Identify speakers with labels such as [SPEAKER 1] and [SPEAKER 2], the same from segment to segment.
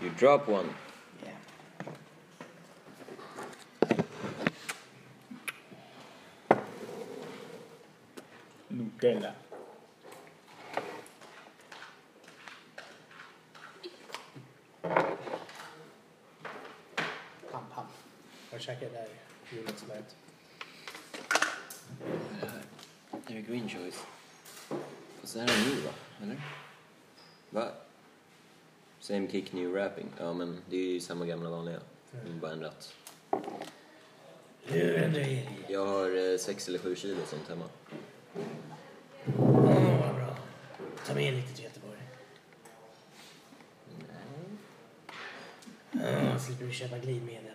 [SPEAKER 1] You drop one.
[SPEAKER 2] Yeah.
[SPEAKER 3] Nutella.
[SPEAKER 4] Pam Pam. Jag käkade där julen som lät.
[SPEAKER 1] Det är green choice. Fast det här är nu va? Eller? Va? Same kick, new wrapping. Ja men det är ju samma gamla vanliga. Mm. Bara ändrat. Jag har eh, sex eller sju kilo sånt hemma.
[SPEAKER 4] Åh, vad bra. Ta med lite till Göteborg. Åh, Eh, slipper vi köpa glidmedel.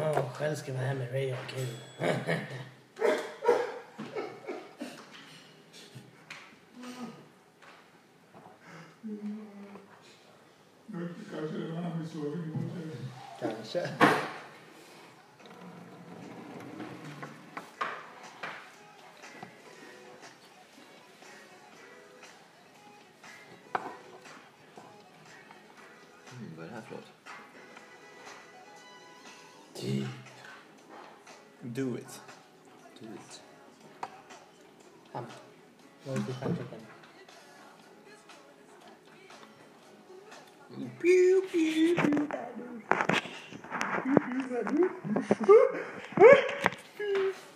[SPEAKER 4] Åh, själv ska jag vara här med Ray och ha kul.
[SPEAKER 5] Kanske det var han vi såg emot.
[SPEAKER 2] Kanske.
[SPEAKER 1] Mm, vad är det här för låt?
[SPEAKER 3] Do it.
[SPEAKER 1] Do it.
[SPEAKER 4] Pam. Vad är det för stjärntecken?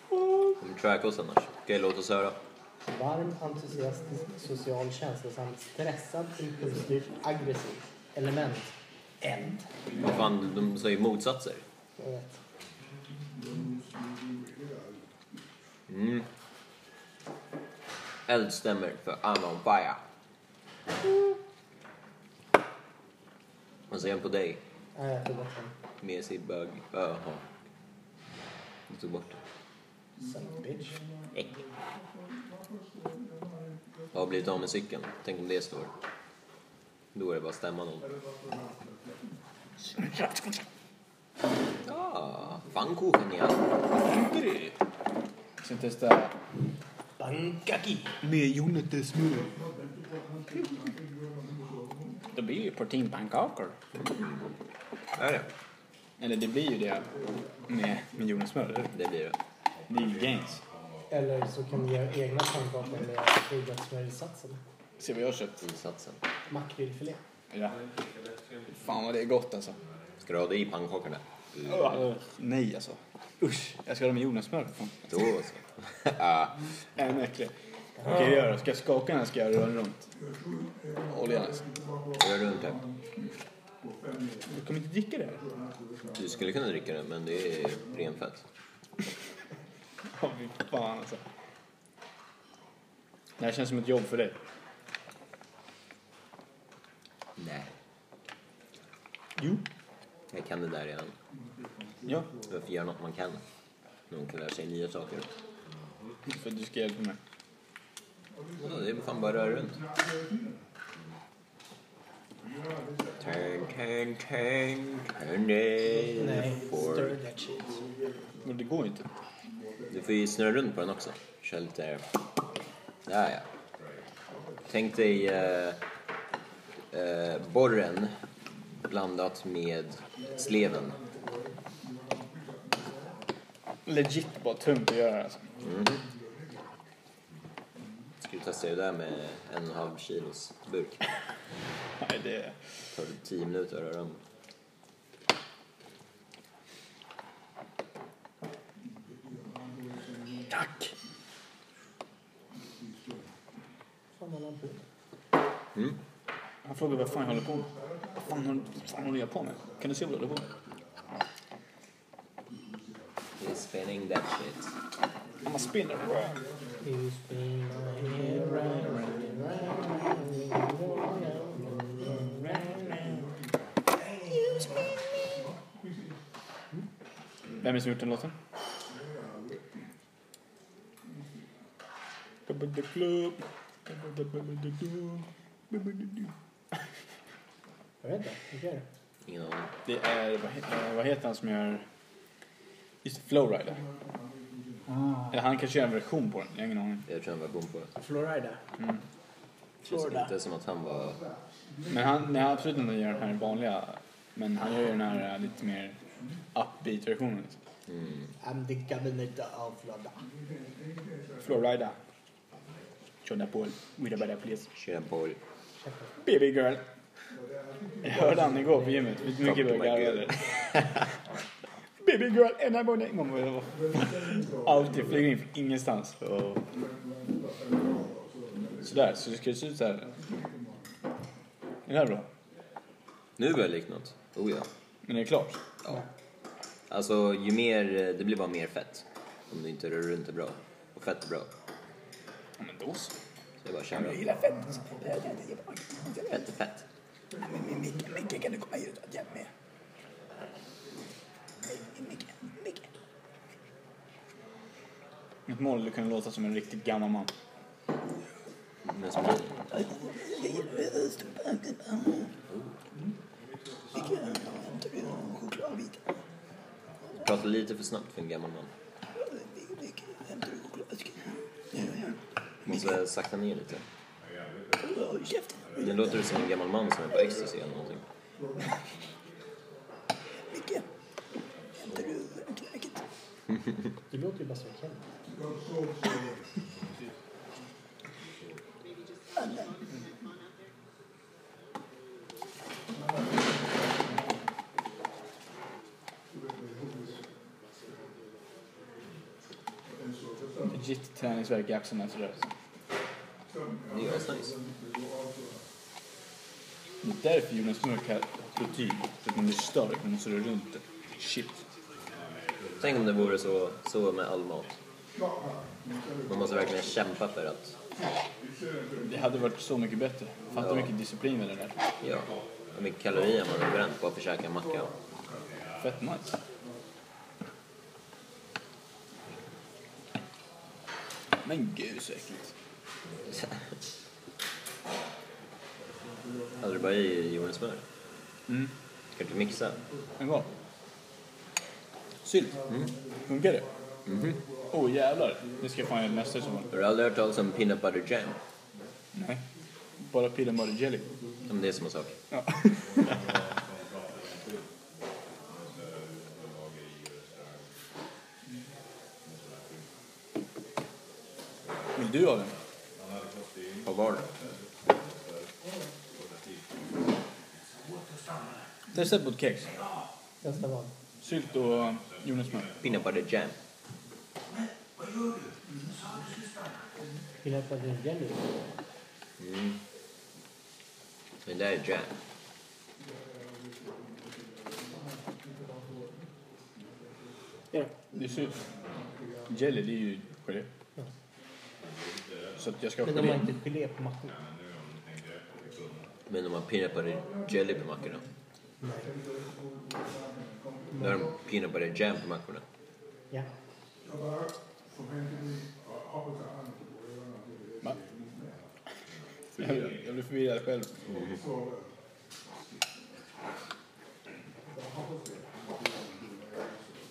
[SPEAKER 1] Kommer tracka oss annars. Okej, låt oss höra.
[SPEAKER 4] Varm, entusiastisk, social, känslosam, stressad, impulsstyrd, aggressiv. Element. Eld.
[SPEAKER 1] Vad fan, de säger motsatser.
[SPEAKER 4] Jag vet.
[SPEAKER 1] Mm. Eld stämmer för I'm on fire. Vad säger han på dig?
[SPEAKER 4] Ja, jag tog bort den.
[SPEAKER 1] Mesig bög. Jaha. Du tog bort
[SPEAKER 4] Son of a bitch.
[SPEAKER 1] det. Jag har blivit av med cykeln. Tänk om det står. Då är det bara att stämma någon. Ah, Pfannkuchen ja.
[SPEAKER 3] Jag ska testa
[SPEAKER 4] Bankaki.
[SPEAKER 3] med jordnötssmör. Det blir ju proteinpannkakor.
[SPEAKER 1] Är det?
[SPEAKER 3] Eller det blir ju det med, med jordnötssmör. eller?
[SPEAKER 1] Det blir det.
[SPEAKER 3] Det är ju gains.
[SPEAKER 4] Eller så kan du göra egna pannkakor med jordgubbssmörsatsen.
[SPEAKER 3] Se vad jag har köpt.
[SPEAKER 1] Insatsen.
[SPEAKER 4] Makrillfilé.
[SPEAKER 3] Ja. Fan vad det är gott alltså.
[SPEAKER 1] Ska du ha det i pannkakorna?
[SPEAKER 3] Nej alltså. Usch. Jag ska ha det med jordnötssmör. för fan.
[SPEAKER 1] Då så. Ah.
[SPEAKER 3] Ännu äckligare. Okej, okay, gör det. Ska jag skaka den här ska jag röra runt. Oljan alltså.
[SPEAKER 1] Rör runt här.
[SPEAKER 3] Du kommer inte dricka det här?
[SPEAKER 1] Du skulle kunna dricka den, men det är renfett.
[SPEAKER 3] Ja, fy fan alltså. Det här känns som ett jobb för dig.
[SPEAKER 1] Nej.
[SPEAKER 3] Jo.
[SPEAKER 1] Jag kan det där redan.
[SPEAKER 3] Ja.
[SPEAKER 1] Varför göra något man kan? När man kan lära sig nya saker.
[SPEAKER 3] För du ska hjälpa mig.
[SPEAKER 1] Ja, det är fan bara att röra runt. Turn, turn, turn, turn
[SPEAKER 4] Nej,
[SPEAKER 1] it
[SPEAKER 4] stir
[SPEAKER 1] forward.
[SPEAKER 4] that shit.
[SPEAKER 3] Men det går ju inte.
[SPEAKER 1] Du får ju snurra runt på den också. Kör lite... Där ja. Tänk dig eh, eh, borren blandat med sleven.
[SPEAKER 3] Legit bara tungt att göra alltså.
[SPEAKER 1] Ska du testa det där med en och en halv kilos burk?
[SPEAKER 3] Nej, det...
[SPEAKER 1] tar det 10 minuter att röra om.
[SPEAKER 3] Tack!
[SPEAKER 4] Fan vad man på med.
[SPEAKER 3] Han frågar vad fan jag håller på med. Vad fan, håller- vad fan håller jag på med? Kan du se vad du håller på med?
[SPEAKER 1] He's spinning that shit.
[SPEAKER 3] I'm a spinner.
[SPEAKER 4] You spin my head round, round, round, round, round, round, round, round, round.
[SPEAKER 3] Vem är det som gjort den låten? The club.
[SPEAKER 4] Jag vet inte, vilka är det?
[SPEAKER 1] Ingen aning.
[SPEAKER 3] Det är, vad he- eh, vad heter han som gör... Just det, Flowrider. Eller han kanske gör en version på den, jag har ingen aning.
[SPEAKER 1] Jag tror han var bom på det.
[SPEAKER 4] Florida.
[SPEAKER 1] Det känns
[SPEAKER 4] Florida.
[SPEAKER 1] inte som att han var...
[SPEAKER 3] Men han, nej absolut inte gör den här vanliga. Men han gör ju den här eh, lite mer upbeat-versionen. Liksom.
[SPEAKER 4] I'm the governor of Florida.
[SPEAKER 3] Florida. Köra på, with a better place.
[SPEAKER 1] Tjena boll.
[SPEAKER 3] Baby girl. Jag hörde han igår på gymmet. Vet du hur mycket
[SPEAKER 1] Fuck
[SPEAKER 3] jag
[SPEAKER 1] my
[SPEAKER 3] garvade?
[SPEAKER 1] girl.
[SPEAKER 3] Baby girl and I'm on it. Man bara, alltid flyger in från ingenstans. Sådär, så det ska se ut såhär. Är det här bra?
[SPEAKER 1] Nu börjar det likna något. Oh ja.
[SPEAKER 3] Men det är klart.
[SPEAKER 1] ja. Alltså, ju mer... Det blir bara mer fett. Om du inte rör runt det bra. Och fett är bra.
[SPEAKER 3] Ja men då så.
[SPEAKER 1] Så det är bara att köra.
[SPEAKER 3] Jag gillar fett.
[SPEAKER 1] Fett är fett.
[SPEAKER 3] Micke, Micke kan du komma hit och hjälpa mig? Micke, Micke. Mitt mål är att kunna låta som en riktigt gammal man.
[SPEAKER 1] Men som du. Du pratar lite för snabbt för en gammal man. Måste sakta ner lite. Nu låter du som en gammal man som är på ecstasy eller någonting.
[SPEAKER 4] Det låter ju bara som Kenneth.
[SPEAKER 3] Legit träningsvärk i axeln efter det.
[SPEAKER 1] Det är asnice.
[SPEAKER 3] Det är därför Jonas Mörk har rutin. För att man blir störd, man måste röra runt det. Shit.
[SPEAKER 1] Tänk om det vore så, så med all mat. Man måste verkligen kämpa för att...
[SPEAKER 3] Det hade varit så mycket bättre. Fattar hur
[SPEAKER 1] Ja.
[SPEAKER 3] mycket disciplin med det där.
[SPEAKER 1] Ja, hur mycket kalorier man har bränt på att försöka en macka.
[SPEAKER 3] Fett nice. Men gud så äckligt.
[SPEAKER 1] Hade du bara i jordnötssmör?
[SPEAKER 3] Mm.
[SPEAKER 1] Ska du inte mixa?
[SPEAKER 3] Men vad? Sylt? Funkar det? Åh oh, jävlar. Det ska jag fan göra nästa sommar.
[SPEAKER 1] Har du aldrig hört talas om peanut butter jam?
[SPEAKER 3] Nej. Bara pilla mud och jelly.
[SPEAKER 1] Ja, men det är samma sak.
[SPEAKER 3] Ja. Vill du ha den?
[SPEAKER 1] På vardag.
[SPEAKER 3] Testa på ett kex.
[SPEAKER 4] Nästa val.
[SPEAKER 3] Sylt och jordnötssmör.
[SPEAKER 1] Peanut butter jam.
[SPEAKER 4] Pillar på din Jenny.
[SPEAKER 1] Det där är jam.
[SPEAKER 4] Ja.
[SPEAKER 3] Det är sylt. Jelly, det är ju gelé.
[SPEAKER 4] Ja.
[SPEAKER 3] Så att jag ska ha
[SPEAKER 4] Men de har
[SPEAKER 3] gelé.
[SPEAKER 4] inte gelé på mackorna.
[SPEAKER 1] Men de har peanut butter jelly på mackorna.
[SPEAKER 4] Nej.
[SPEAKER 1] Då har de peanut butter jam på mackorna.
[SPEAKER 4] Ja.
[SPEAKER 3] Va? Jag blir- jag blir förvirrad själv.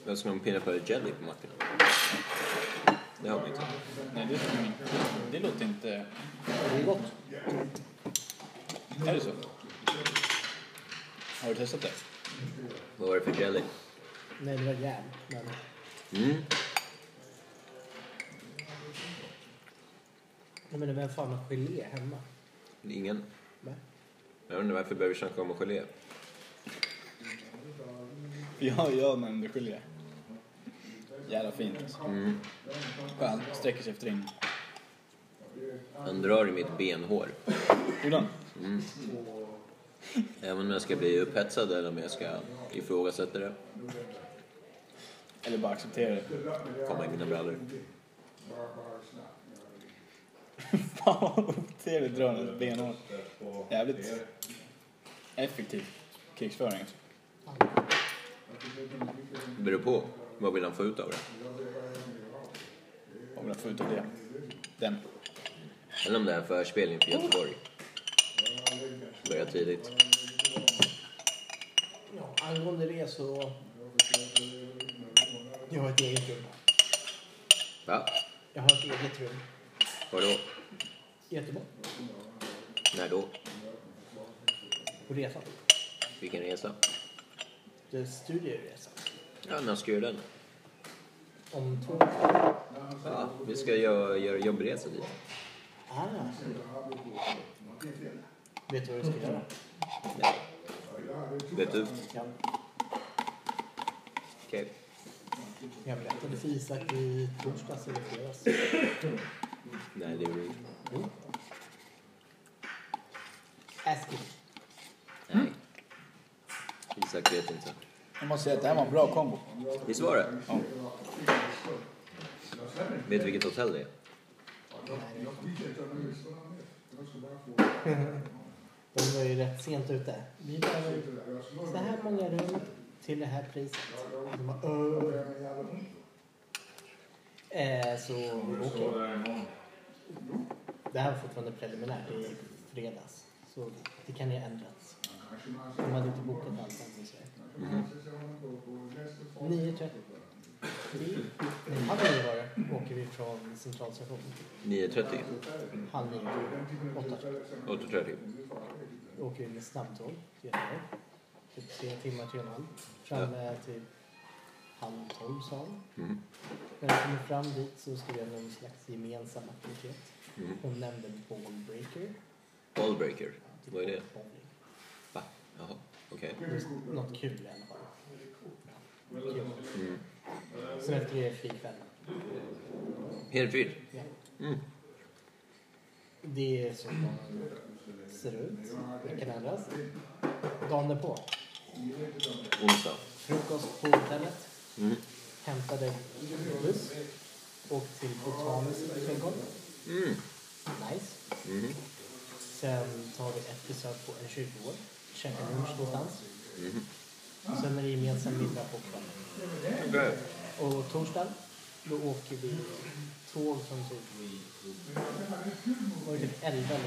[SPEAKER 1] Varför ska de ha peanut butter jelly på mackorna? Det har man inte.
[SPEAKER 3] Nej, det, det låter inte...
[SPEAKER 4] Det är gott.
[SPEAKER 3] Är det så? Har du testat det?
[SPEAKER 1] Vad var det för jelly?
[SPEAKER 4] Nej, det var järn. Men
[SPEAKER 1] Mm.
[SPEAKER 4] jag menar, vem fan har gelé hemma?
[SPEAKER 1] Det är Ingen.
[SPEAKER 4] Nej.
[SPEAKER 1] Jag undrar varför behöver vi snacka om gelé?
[SPEAKER 3] Ja, jag nämnde gelé. Jävla fint. alltså.
[SPEAKER 1] Mm.
[SPEAKER 3] Skönt. Sträcker sig efter ringen.
[SPEAKER 1] Han drar i mitt benhår.
[SPEAKER 3] Gjorde han?
[SPEAKER 1] Även om jag ska bli upphetsad eller om jag ska ifrågasätta det.
[SPEAKER 3] Eller bara accepterar det.
[SPEAKER 1] Komma i mina brallor.
[SPEAKER 3] Fan vad otrevligt drar hans benhår. Jävligt effektiv krigsföring. alltså.
[SPEAKER 1] Det beror på. Vad vill han få ut av det?
[SPEAKER 3] Vad vill han få ut av det? Den.
[SPEAKER 1] Eller om det är en förspelning för Göteborg. Börja tidigt.
[SPEAKER 4] Ja, angående det så... Jag har ett eget rum.
[SPEAKER 1] Va?
[SPEAKER 4] Jag har ett eget rum.
[SPEAKER 1] Var då?
[SPEAKER 4] I Göteborg.
[SPEAKER 1] När då?
[SPEAKER 4] På resan.
[SPEAKER 1] Vilken resa?
[SPEAKER 4] Det är studieresa.
[SPEAKER 1] Ja, när ska du göra den?
[SPEAKER 4] Om två veckor.
[SPEAKER 1] Ja, vi ska göra, göra jobbresa dit.
[SPEAKER 4] Ah. Vet du vad du ska göra?
[SPEAKER 1] Nej. Vet du?
[SPEAKER 4] Jag,
[SPEAKER 1] Okej.
[SPEAKER 4] jag berättade för Isak i torsdags eller fredags.
[SPEAKER 1] Nej, det är väl inte.
[SPEAKER 4] Ask him.
[SPEAKER 1] Nej. Isak vet inte.
[SPEAKER 3] Jag måste säga att det här var en bra kombo.
[SPEAKER 1] Visst var det?
[SPEAKER 3] Ja.
[SPEAKER 1] Vet du vilket hotell det är?
[SPEAKER 4] De var ju rätt sent ute. Vi behöver så här många rum till det här priset. De bara, "Åh." eh, så okej. Det här var fortfarande preliminärt i fredags. Så det kan ju ändras. De hade inte bokat allt än. så att-
[SPEAKER 1] Mhm.
[SPEAKER 4] 9.30. Det hade vi varit. Åker vi från centralstation.
[SPEAKER 1] 9.30?
[SPEAKER 4] Halv nio. Åtta.
[SPEAKER 1] 8.30?
[SPEAKER 4] Då åker vi med snabbtåg till Göteborg. Typ tre timmar, tre och en halv. Framme typ halv tolv sa han.
[SPEAKER 1] Mhm.
[SPEAKER 4] När vi kommer fram dit så ska vi göra någon slags gemensam aktivitet.
[SPEAKER 1] Mhm.
[SPEAKER 4] Hon nämnde ballbreaker.
[SPEAKER 1] Ballbreaker? Vad är det?
[SPEAKER 4] Bowling.
[SPEAKER 1] Va? Jaha, okej.
[SPEAKER 4] Något kul i alla fall. Kul.
[SPEAKER 1] Mm.
[SPEAKER 4] Sen efter det är det flygkväll.
[SPEAKER 1] Helfrid?
[SPEAKER 4] Ja.
[SPEAKER 1] Mm.
[SPEAKER 4] Det är så man ser ut. Det kan ändras. Dagen därpå.
[SPEAKER 1] Onsdag?
[SPEAKER 4] Frukost på hotellet.
[SPEAKER 1] Mm.
[SPEAKER 4] hämtade buss och till Botanisk trädgård.
[SPEAKER 1] Mm.
[SPEAKER 4] Nice.
[SPEAKER 1] Mhm.
[SPEAKER 4] Sen tar vi ett besök på en kyrkogård, käkar lunch någonstans. Och sen är det gemensam middag på kvällen.
[SPEAKER 1] Okej.
[SPEAKER 4] Och torsdagen, då åker vi tåg som tog... Var det typ 11 eller 12?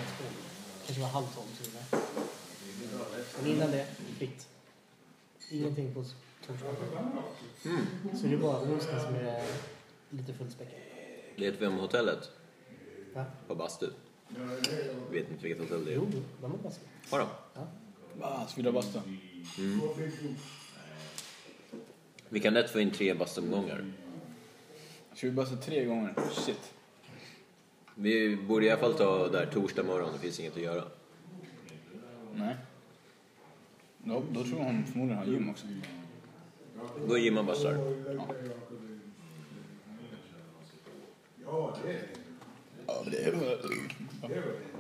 [SPEAKER 4] Kanske var halv 12 till och med. Men innan det, fritt. Ingenting på torsdagen. Så det är bara onsdag som är lite fullspäckat.
[SPEAKER 1] Vet vi om hotellet?
[SPEAKER 4] Va?
[SPEAKER 1] På bastu? Vet inte vilket hotell det är?
[SPEAKER 4] Jo, de har basket.
[SPEAKER 1] Har de?
[SPEAKER 4] Ja.
[SPEAKER 3] Ah, ska vi dra bastun?
[SPEAKER 1] Mm. Vi kan lätt få in tre bastumgångar.
[SPEAKER 3] Ska vi basta tre gånger? Shit.
[SPEAKER 1] Vi borde i alla fall ta där torsdag morgon, det finns inget att göra.
[SPEAKER 3] Nej. Då, då tror jag hon förmodligen har gym också.
[SPEAKER 1] Gå och gymma bastar.
[SPEAKER 3] Ja, men det är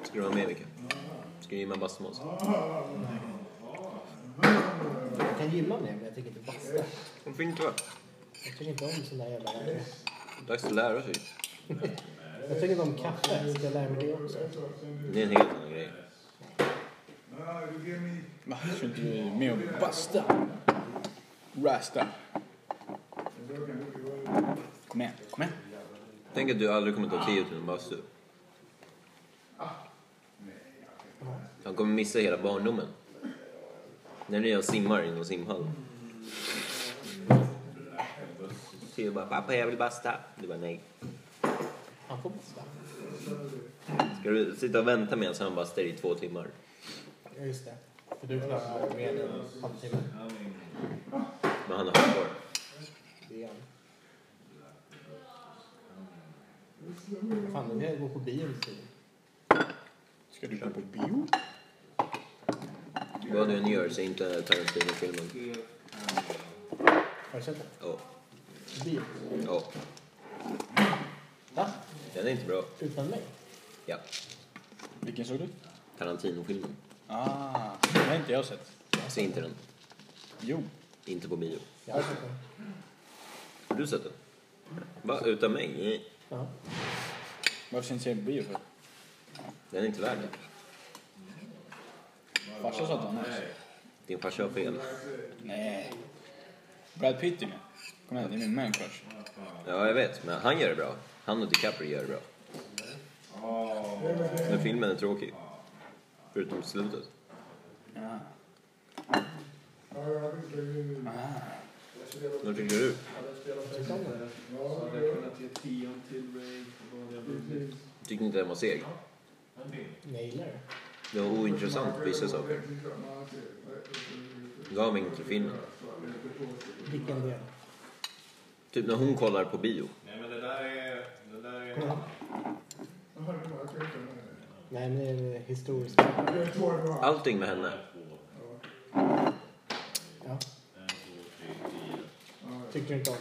[SPEAKER 1] Ska du vara med Micke? Ska du gymma bastu med oss?
[SPEAKER 4] Jag kan gymma med men jag tycker inte basta.
[SPEAKER 1] Varför inte? va?
[SPEAKER 4] Jag tycker inte om sån där jävla lärare.
[SPEAKER 1] Dags att lära sig.
[SPEAKER 4] Jag tycker inte om kaffe. Ska jag lära mig det också?
[SPEAKER 1] Det är en helt annan grej.
[SPEAKER 5] Nou,
[SPEAKER 3] Va? Ska inte vi med och basta? Rasta. Kom igen, kom igen.
[SPEAKER 1] Tänk att du aldrig kommer ta Theo till en bastu. Han kommer missa hela barndomen. När ni och simmar i någon simhall. Theo bara, pappa jag vill basta. Du bara, nej.
[SPEAKER 4] Han får basta.
[SPEAKER 1] Ska du sitta och vänta medan han bastar i två timmar?
[SPEAKER 4] Ja, just det. För du klarar mer än en halvtimme.
[SPEAKER 1] Men han har kvar.
[SPEAKER 4] Det är han. Mm. Fan, nu kan jag gå på bio under tiden.
[SPEAKER 3] Ska du gå på bio?
[SPEAKER 1] Vad du än gör, så inte Tarantino-filmen.
[SPEAKER 4] Har du sett det?
[SPEAKER 1] Ja,
[SPEAKER 4] Bio?
[SPEAKER 1] ja.
[SPEAKER 4] Va?
[SPEAKER 1] Den är inte bra.
[SPEAKER 4] Utan mig?
[SPEAKER 1] Ja,
[SPEAKER 3] Vilken såg du?
[SPEAKER 1] Tarantino-filmen.
[SPEAKER 3] Ah, den har inte jag sett.
[SPEAKER 1] Se inte den.
[SPEAKER 3] Jo.
[SPEAKER 1] Inte på bio.
[SPEAKER 4] Jag har sett den.
[SPEAKER 1] Har du sett den? Va? Utan mig? Nej.
[SPEAKER 4] Ja.
[SPEAKER 3] Varför ska jag inte säga på bio för?
[SPEAKER 1] Den är inte värd det.
[SPEAKER 3] Farsan sa att han också.
[SPEAKER 1] Din farsa har fel.
[SPEAKER 3] Nej. Brad Pitt är med. Kom igen, det är min man crush.
[SPEAKER 1] Ja, jag vet. Men han gör det bra. Han och DiCaprio gör det bra. Men filmen är tråkig. Förutom slutet.
[SPEAKER 3] Ja.
[SPEAKER 5] Ja, jag vet inte.
[SPEAKER 3] ah.
[SPEAKER 1] Vad tycker du?
[SPEAKER 4] Tyckte om den?
[SPEAKER 2] Så hade jag kunnat ge tian till mig. Då hade jag blivit
[SPEAKER 1] Tyckte inte den var seg.
[SPEAKER 4] Jag gillar det.
[SPEAKER 1] Det var ointressant på vissa saker. Gav mig inte filmen.
[SPEAKER 4] Vilken del?
[SPEAKER 1] Typ när hon kollar på bio.
[SPEAKER 6] Nej men det där är... Det där är...
[SPEAKER 4] Nej, men eh, det är en historisk. Ja.
[SPEAKER 1] Allting med henne.
[SPEAKER 4] Tycker du inte om?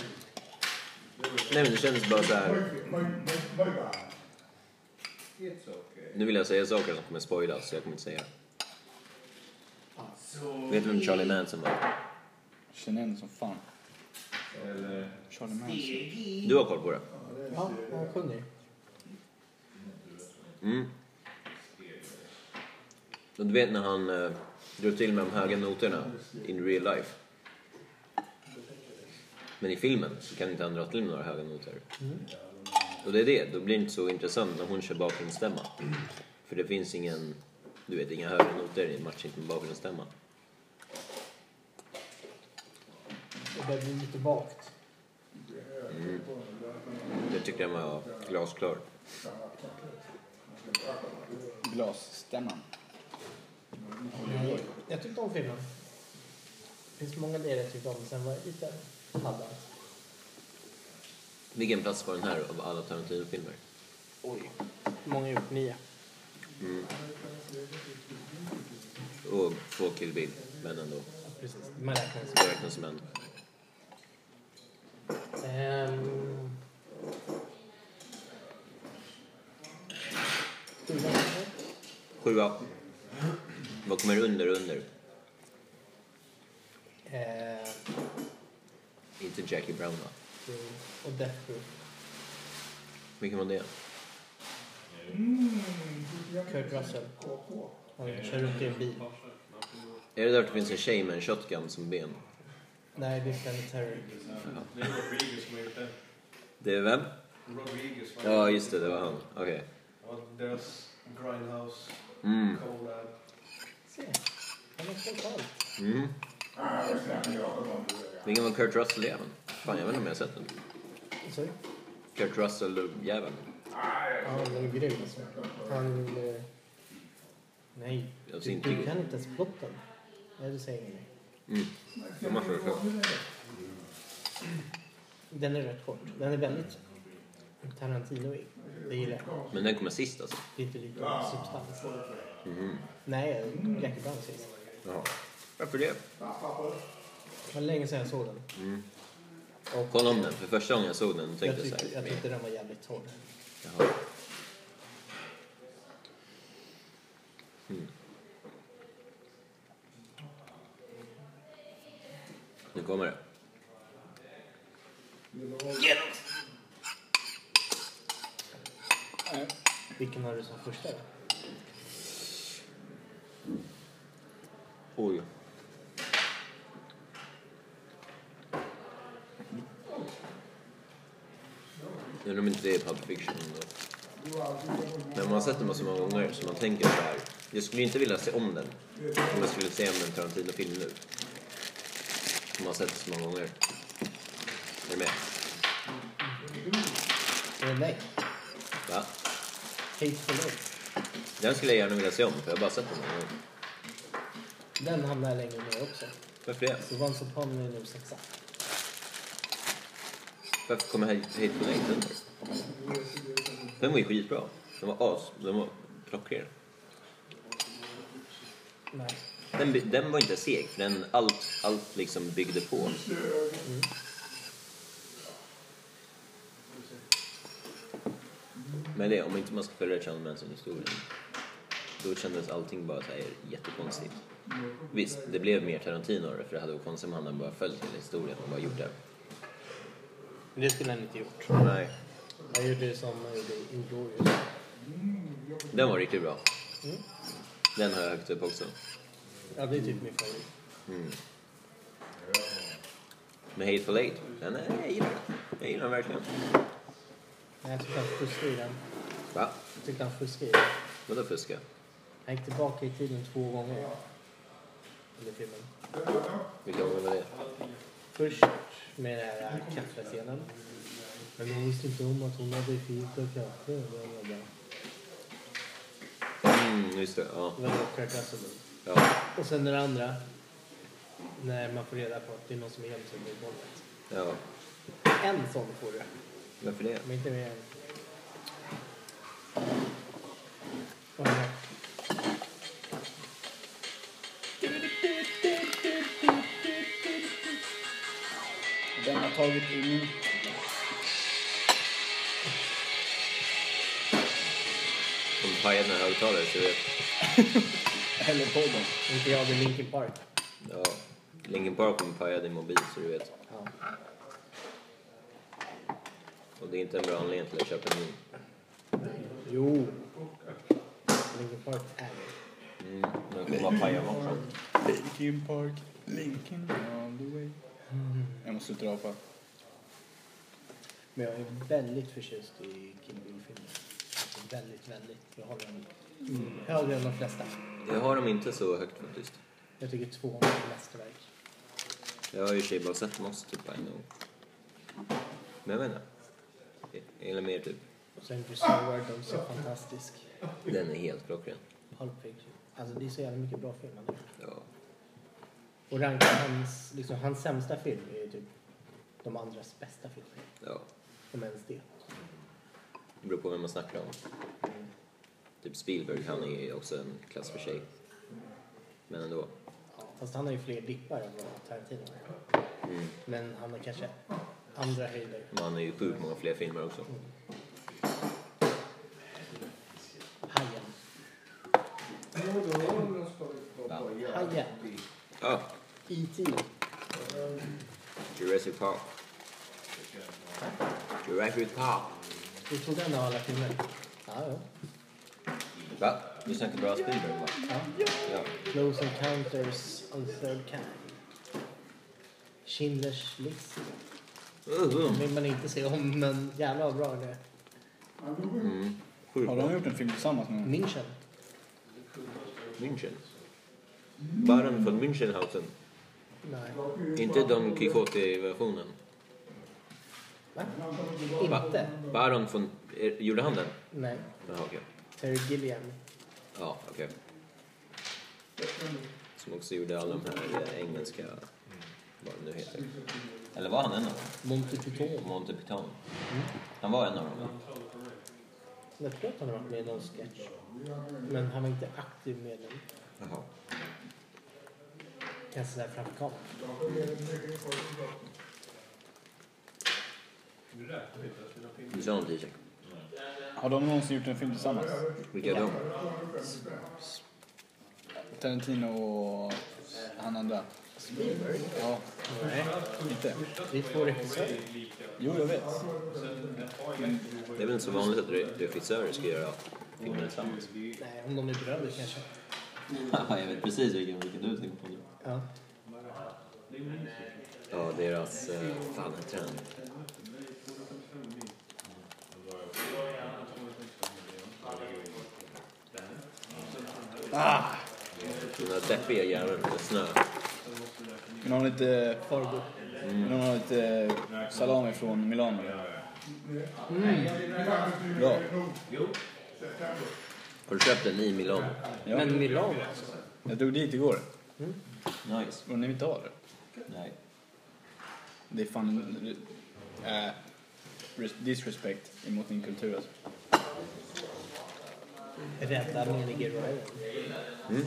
[SPEAKER 1] Nej men det kändes bara så här. Nu vill jag säga saker som kommer spoilas så jag kommer inte säga. Vet du vem Charlie Manson var?
[SPEAKER 3] Känner igen det som fan.
[SPEAKER 6] Eller...
[SPEAKER 3] Charlie Manson.
[SPEAKER 1] Du har koll på det?
[SPEAKER 4] Ja, han sjunger.
[SPEAKER 1] Mm. Och du vet när han eh, drog till med de höga noterna in real life. Men i filmen så kan inte han dra till med några höga noter. Och det är det, då blir det inte så intressant när hon kör bakgrundsstämma. För det finns ingen, du vet, inga höga noter i en matchhit med bakgrundsstämma.
[SPEAKER 4] Och det blir lite vagt.
[SPEAKER 1] Det tyckte jag var glasklar.
[SPEAKER 3] Glasstämman.
[SPEAKER 4] Jag tyckte om filmen. Det finns många delar jag tyckte om, sen var jag lite halvdant.
[SPEAKER 1] Vilken plats var den här av alla Tarantino-filmer?
[SPEAKER 4] Oj. Många gjort nio.
[SPEAKER 1] Och två Kill Bill, men ändå.
[SPEAKER 4] Precis, man räknar inte.
[SPEAKER 1] Det räknas som en.
[SPEAKER 4] Ehm. Sjuan kanske?
[SPEAKER 1] Sjua. Vad kommer under och under?
[SPEAKER 4] Ehm,
[SPEAKER 1] Inte Jackie Brown va?
[SPEAKER 4] jo. Och Death Proof.
[SPEAKER 1] Vilken var det?
[SPEAKER 4] Kurt Russell. Han kör runt i en bil.
[SPEAKER 1] Är det därför det finns en tjej med en shotgun som ben?
[SPEAKER 4] Nej, det är Planet Terror.
[SPEAKER 6] Det är Rodriguez som har gjort det.
[SPEAKER 1] Det är vem?
[SPEAKER 6] Rodriguez va?
[SPEAKER 1] Ja, just det, det var han. Okej.
[SPEAKER 6] Ja, Deras Grindhouse
[SPEAKER 1] Mm.
[SPEAKER 6] collab.
[SPEAKER 4] Se. Han har koll på allt.
[SPEAKER 1] Mm. Vilken var Kurt Russell-jäveln? Fan, jag vet inte om jag har sett den.
[SPEAKER 4] Sorry?
[SPEAKER 1] Kurt Russell-jäveln.
[SPEAKER 4] Ja, den är grym alltså. Han... eh, Nej.
[SPEAKER 1] Jag ser
[SPEAKER 4] Du,
[SPEAKER 1] inte
[SPEAKER 4] du
[SPEAKER 1] riktigt.
[SPEAKER 4] kan inte ens plotten. Nej, du säger ingenting.
[SPEAKER 1] Mm. De har för
[SPEAKER 4] Den är rätt kort. Den är väldigt Tarantinoig. Det gillar jag.
[SPEAKER 1] Men den kommer sist alltså.
[SPEAKER 4] Det är inte lika substans.
[SPEAKER 1] Mhm.
[SPEAKER 4] Nej, Jackie Brown sist.
[SPEAKER 1] Jaha. Varför det?
[SPEAKER 4] Det var länge sedan jag såg den.
[SPEAKER 1] Mm.
[SPEAKER 4] Och
[SPEAKER 1] Kolla om den. För första gången jag såg den
[SPEAKER 4] jag,
[SPEAKER 1] tänkte jag
[SPEAKER 4] tyckte,
[SPEAKER 1] så
[SPEAKER 4] jag
[SPEAKER 1] här.
[SPEAKER 4] tyckte den var jävligt torr.
[SPEAKER 1] Jaha. Mm. Nu kommer det.
[SPEAKER 4] Vilken har du som första då?
[SPEAKER 1] Oj. Jag undrar om inte det är Pulp Fiction ändå. Men man har sett den så många gånger så man tänker så här. Jag skulle ju inte vilja se om den. Om jag skulle se om en Tarantino-film nu. Man har sett så många gånger. Är du med?
[SPEAKER 4] Är det nej?
[SPEAKER 1] Va?
[SPEAKER 4] Hateful Eight.
[SPEAKER 1] Den skulle jag gärna vilja se om för jag har bara sett den en gång.
[SPEAKER 4] Den hamnar jag längre ner också.
[SPEAKER 1] Varför det?
[SPEAKER 4] Så Once upon är nu sexa.
[SPEAKER 1] Varför kommer Hate Hate på Eight under? Den var ju skitbra. Den var as. Den var klockren.
[SPEAKER 4] Nej.
[SPEAKER 1] Den, by- den var inte seg, för den, allt, allt liksom byggde på.
[SPEAKER 4] Mm.
[SPEAKER 1] Men det, om inte man ska följa Charles Manson-historien, då kändes allting bara så här jättekonstigt. Visst, det blev mer Tarantino av det, för det hade varit konstigt om han hade bara följt hela historien och bara gjort det.
[SPEAKER 4] Men det skulle han inte gjort.
[SPEAKER 1] Nej.
[SPEAKER 4] Han gjorde det som han gjorde i Inglourious.
[SPEAKER 1] Den var riktigt bra.
[SPEAKER 4] Mm.
[SPEAKER 1] Den har jag högt upp också. Mm.
[SPEAKER 4] Ja, det är typ min favorit.
[SPEAKER 1] Men Hateful Eight, den är, jag gillar den. Jag gillar den verkligen.
[SPEAKER 4] Nej, jag tyckte han fuskade i den.
[SPEAKER 1] Va?
[SPEAKER 4] Jag tyckte han fuskade i den.
[SPEAKER 1] Vadå fuska?
[SPEAKER 4] Han gick tillbaka i tiden två gånger. Under filmen.
[SPEAKER 1] Vilka gånger var det?
[SPEAKER 4] först med den här kaffescenen. Men hon visste inte om att hon hade fint och kaffe. bla, bla, bla.
[SPEAKER 1] Mm, just det. Ja.
[SPEAKER 4] Det var då Kirk Russell.
[SPEAKER 1] ja.
[SPEAKER 4] Och sen den andra. När man får reda på att det är någon som är gömd sig i golvet.
[SPEAKER 1] ja.
[SPEAKER 4] En sån får du.
[SPEAKER 1] Varför det?
[SPEAKER 4] Men inte mer än... Och den här.
[SPEAKER 7] Den har tagit emot.
[SPEAKER 1] De pajade mina högtalare så jag vet.
[SPEAKER 7] Eller podden.
[SPEAKER 4] Inte jag, det är Linkin Park.
[SPEAKER 1] Ja. Linkin Park kommer paja din mobil så du vet.
[SPEAKER 4] Ja.
[SPEAKER 1] Och det är inte en bra anledning till att köpa en ny.
[SPEAKER 4] Jo. Linkin Park är det.
[SPEAKER 1] Mm. Men den kommer bara paja matchen.
[SPEAKER 3] Linkin Park, Linkin all the way. Jag måste dra på.
[SPEAKER 4] Men jag är väldigt förtjust i Kill Bill-filmen. Alltså väldigt, väldigt. Jag håller den högre än de flesta.
[SPEAKER 1] Jag har dem inte så högt faktiskt.
[SPEAKER 4] Jag tycker tvåan är ett mästerverk.
[SPEAKER 1] Jag har ju i och för sig bara sett Moss typ, I know. Men jag menar. Eller mer typ.
[SPEAKER 4] Och sen Christina Wardon så fantastisk.
[SPEAKER 1] Den är helt klockren.
[SPEAKER 4] Pulp Fiction. Alltså det är så jävla mycket bra filmer nu.
[SPEAKER 1] Ja.
[SPEAKER 4] Och ranka hans, liksom, hans sämsta film är ju typ de andras bästa filmer.
[SPEAKER 1] ja.
[SPEAKER 4] Om ens det.
[SPEAKER 1] Det beror på vem man snackar om.
[SPEAKER 4] Mm.
[SPEAKER 1] Typ Spielberg, han är ju också en klass för sig. Men ändå.
[SPEAKER 4] Ja, fast han har ju fler dippar än vad Tarantino har.
[SPEAKER 1] Mm.
[SPEAKER 4] Men han har kanske andra höjder.
[SPEAKER 1] Men han har ju sjukt många fler filmer också.
[SPEAKER 4] Hajen. Hajen.
[SPEAKER 1] Ja,
[SPEAKER 4] E.T.
[SPEAKER 1] Jurassic Park. Jurassic Park.
[SPEAKER 4] Du tog den av alla filmer? Ja, ja.
[SPEAKER 1] Va? Du snackar bra Spielberg va? Ja.
[SPEAKER 4] Close Encounters of the Third Kind. Schindler's List. Den vill man inte se om, men jävlar vad bra det är.
[SPEAKER 1] Mm. Sjukt
[SPEAKER 3] Har
[SPEAKER 1] bra.
[SPEAKER 3] de gjort en film tillsammans nu?
[SPEAKER 4] München.
[SPEAKER 1] München. Baron från Münchenhausen.
[SPEAKER 4] Nej.
[SPEAKER 1] Inte Don Quijote-versionen.
[SPEAKER 4] Va? Inte?
[SPEAKER 1] Baron från... eh, Gjorde han den?
[SPEAKER 4] Nej.
[SPEAKER 1] Jaha, okej.
[SPEAKER 4] Terry Gilliam.
[SPEAKER 1] Ja, okej. Som också gjorde alla de här eh, engelska... Vad de nu heter. Eller var han en av dem?
[SPEAKER 4] Monty Python.
[SPEAKER 1] Monty Python. Han var en av dem, va?
[SPEAKER 4] Jag tror att han har varit med i någon sketch. Men han var inte aktiv med den.
[SPEAKER 1] Jaha.
[SPEAKER 4] Kanske sådär framför kameran.
[SPEAKER 1] Du sa något, Isak.
[SPEAKER 3] Har de någonsin gjort en film tillsammans?
[SPEAKER 1] Vilka är de?
[SPEAKER 3] Tarantino och han andra.
[SPEAKER 4] Spielberg?
[SPEAKER 3] Ja,
[SPEAKER 4] Nej.
[SPEAKER 3] inte.
[SPEAKER 4] Det är två regissörer.
[SPEAKER 3] Jo, jag vet.
[SPEAKER 1] Det är väl inte så vanligt att re- regissörer ska göra filmer tillsammans?
[SPEAKER 4] Nej, om de är bröder kanske.
[SPEAKER 1] jag vet precis vilken, vilken du tänker på nu.
[SPEAKER 4] Ja.
[SPEAKER 1] Ja, deras... Eh, fan, heter den? Ah! Den där deppiga jäveln med snö.
[SPEAKER 3] Men har lite,
[SPEAKER 4] Fargo.
[SPEAKER 3] men har lite salami från Milano. Ja.
[SPEAKER 1] Har du köpt den i Milano?
[SPEAKER 3] ja.
[SPEAKER 4] Men Milano alltså.
[SPEAKER 3] Jag drog dit igår.
[SPEAKER 1] Nice.
[SPEAKER 3] Och ni vill inte ha det?
[SPEAKER 1] Nej.
[SPEAKER 3] Det är fan... Äh, res- disrespect emot din kultur alltså.
[SPEAKER 4] Rädda menige Ryan. Mm.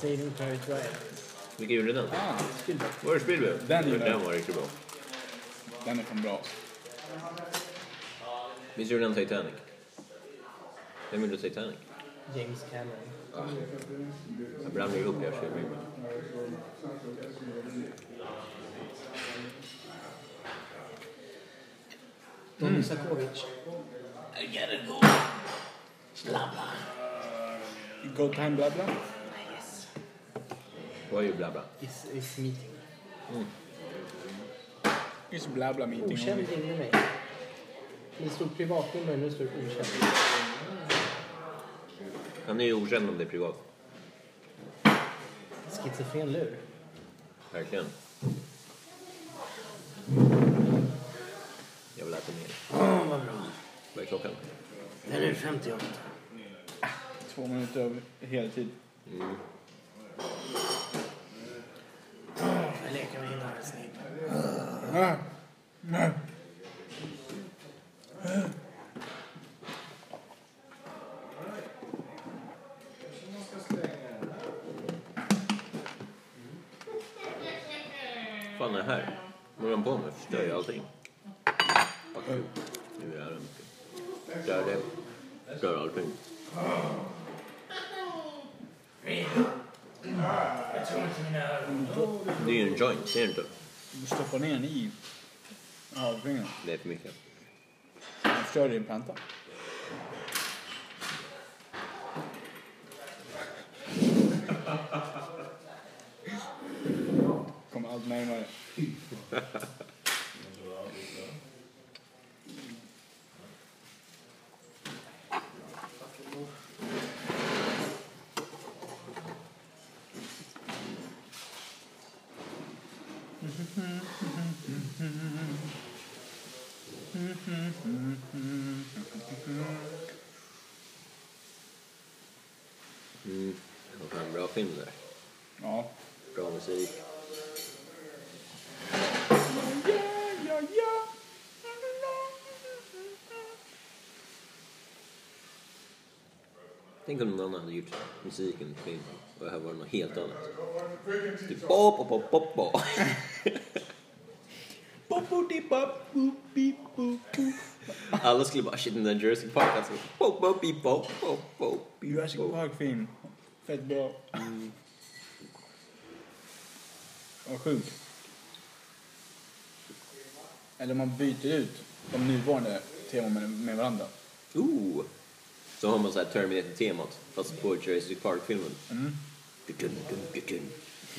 [SPEAKER 4] Saving Private Ryan.
[SPEAKER 1] Vilka gjorde den?
[SPEAKER 3] Ah,
[SPEAKER 1] Var det Spielberg?
[SPEAKER 3] Den gjorde
[SPEAKER 1] den
[SPEAKER 3] den.
[SPEAKER 1] var riktigt bra.
[SPEAKER 3] den är fan bra alltså.
[SPEAKER 1] Visst gjorde den Titanic? Vem gjorde Titanic?
[SPEAKER 4] James Cameron.
[SPEAKER 1] Jag blandar ihop deras filmer ibland.
[SPEAKER 4] Don Isakovic.
[SPEAKER 3] Go time bla bla.
[SPEAKER 1] Var ju bla bla.
[SPEAKER 4] Is, is meeting.
[SPEAKER 3] It's bla bla meeting
[SPEAKER 4] Okänd
[SPEAKER 3] only.
[SPEAKER 4] ringde mig. Det stod privatnummer, nu står det okänd.
[SPEAKER 1] Han är ju okänd om det är privat.
[SPEAKER 4] Schizofren lur.
[SPEAKER 1] Verkligen.
[SPEAKER 4] Åh, vad bra.
[SPEAKER 1] Vad är klockan?
[SPEAKER 4] Den är 58.
[SPEAKER 3] Två minuter över heltid.
[SPEAKER 4] Jag leker med hela snipen.
[SPEAKER 1] fan är det här? Vad håller de på med? Förstör ju allting. Fuck you. Nu är det mycket. Förstör det. Förstör allting. Det är ju en joint, ser du inte?
[SPEAKER 3] Du stoppar ner den i halvringen.
[SPEAKER 1] Det är för mycket.
[SPEAKER 3] Den förstör din planta. Kommer allt närmare.
[SPEAKER 1] Mm. Det var fan bra film där.
[SPEAKER 3] Ja.
[SPEAKER 1] Bra musik. Tänk om någon annan hade gjort musiken till film och det här var något helt annat. Typ pop, pop, pop, pop, pop. Alla skulle bara shit den där Jersey Park alltså. Pop, pop, beep, pop, pop, pop, beep,
[SPEAKER 3] Jurassic
[SPEAKER 1] pop.
[SPEAKER 3] Park-film. Fett bra. Mm. Vad sjukt. Eller man byter ut de nuvarande teman med- med varandra.
[SPEAKER 1] Ooh. Så har man så här Terminator-temat fast på Jersey Park-filmen.
[SPEAKER 3] Mm.
[SPEAKER 1] Dudum, dudum, dudum.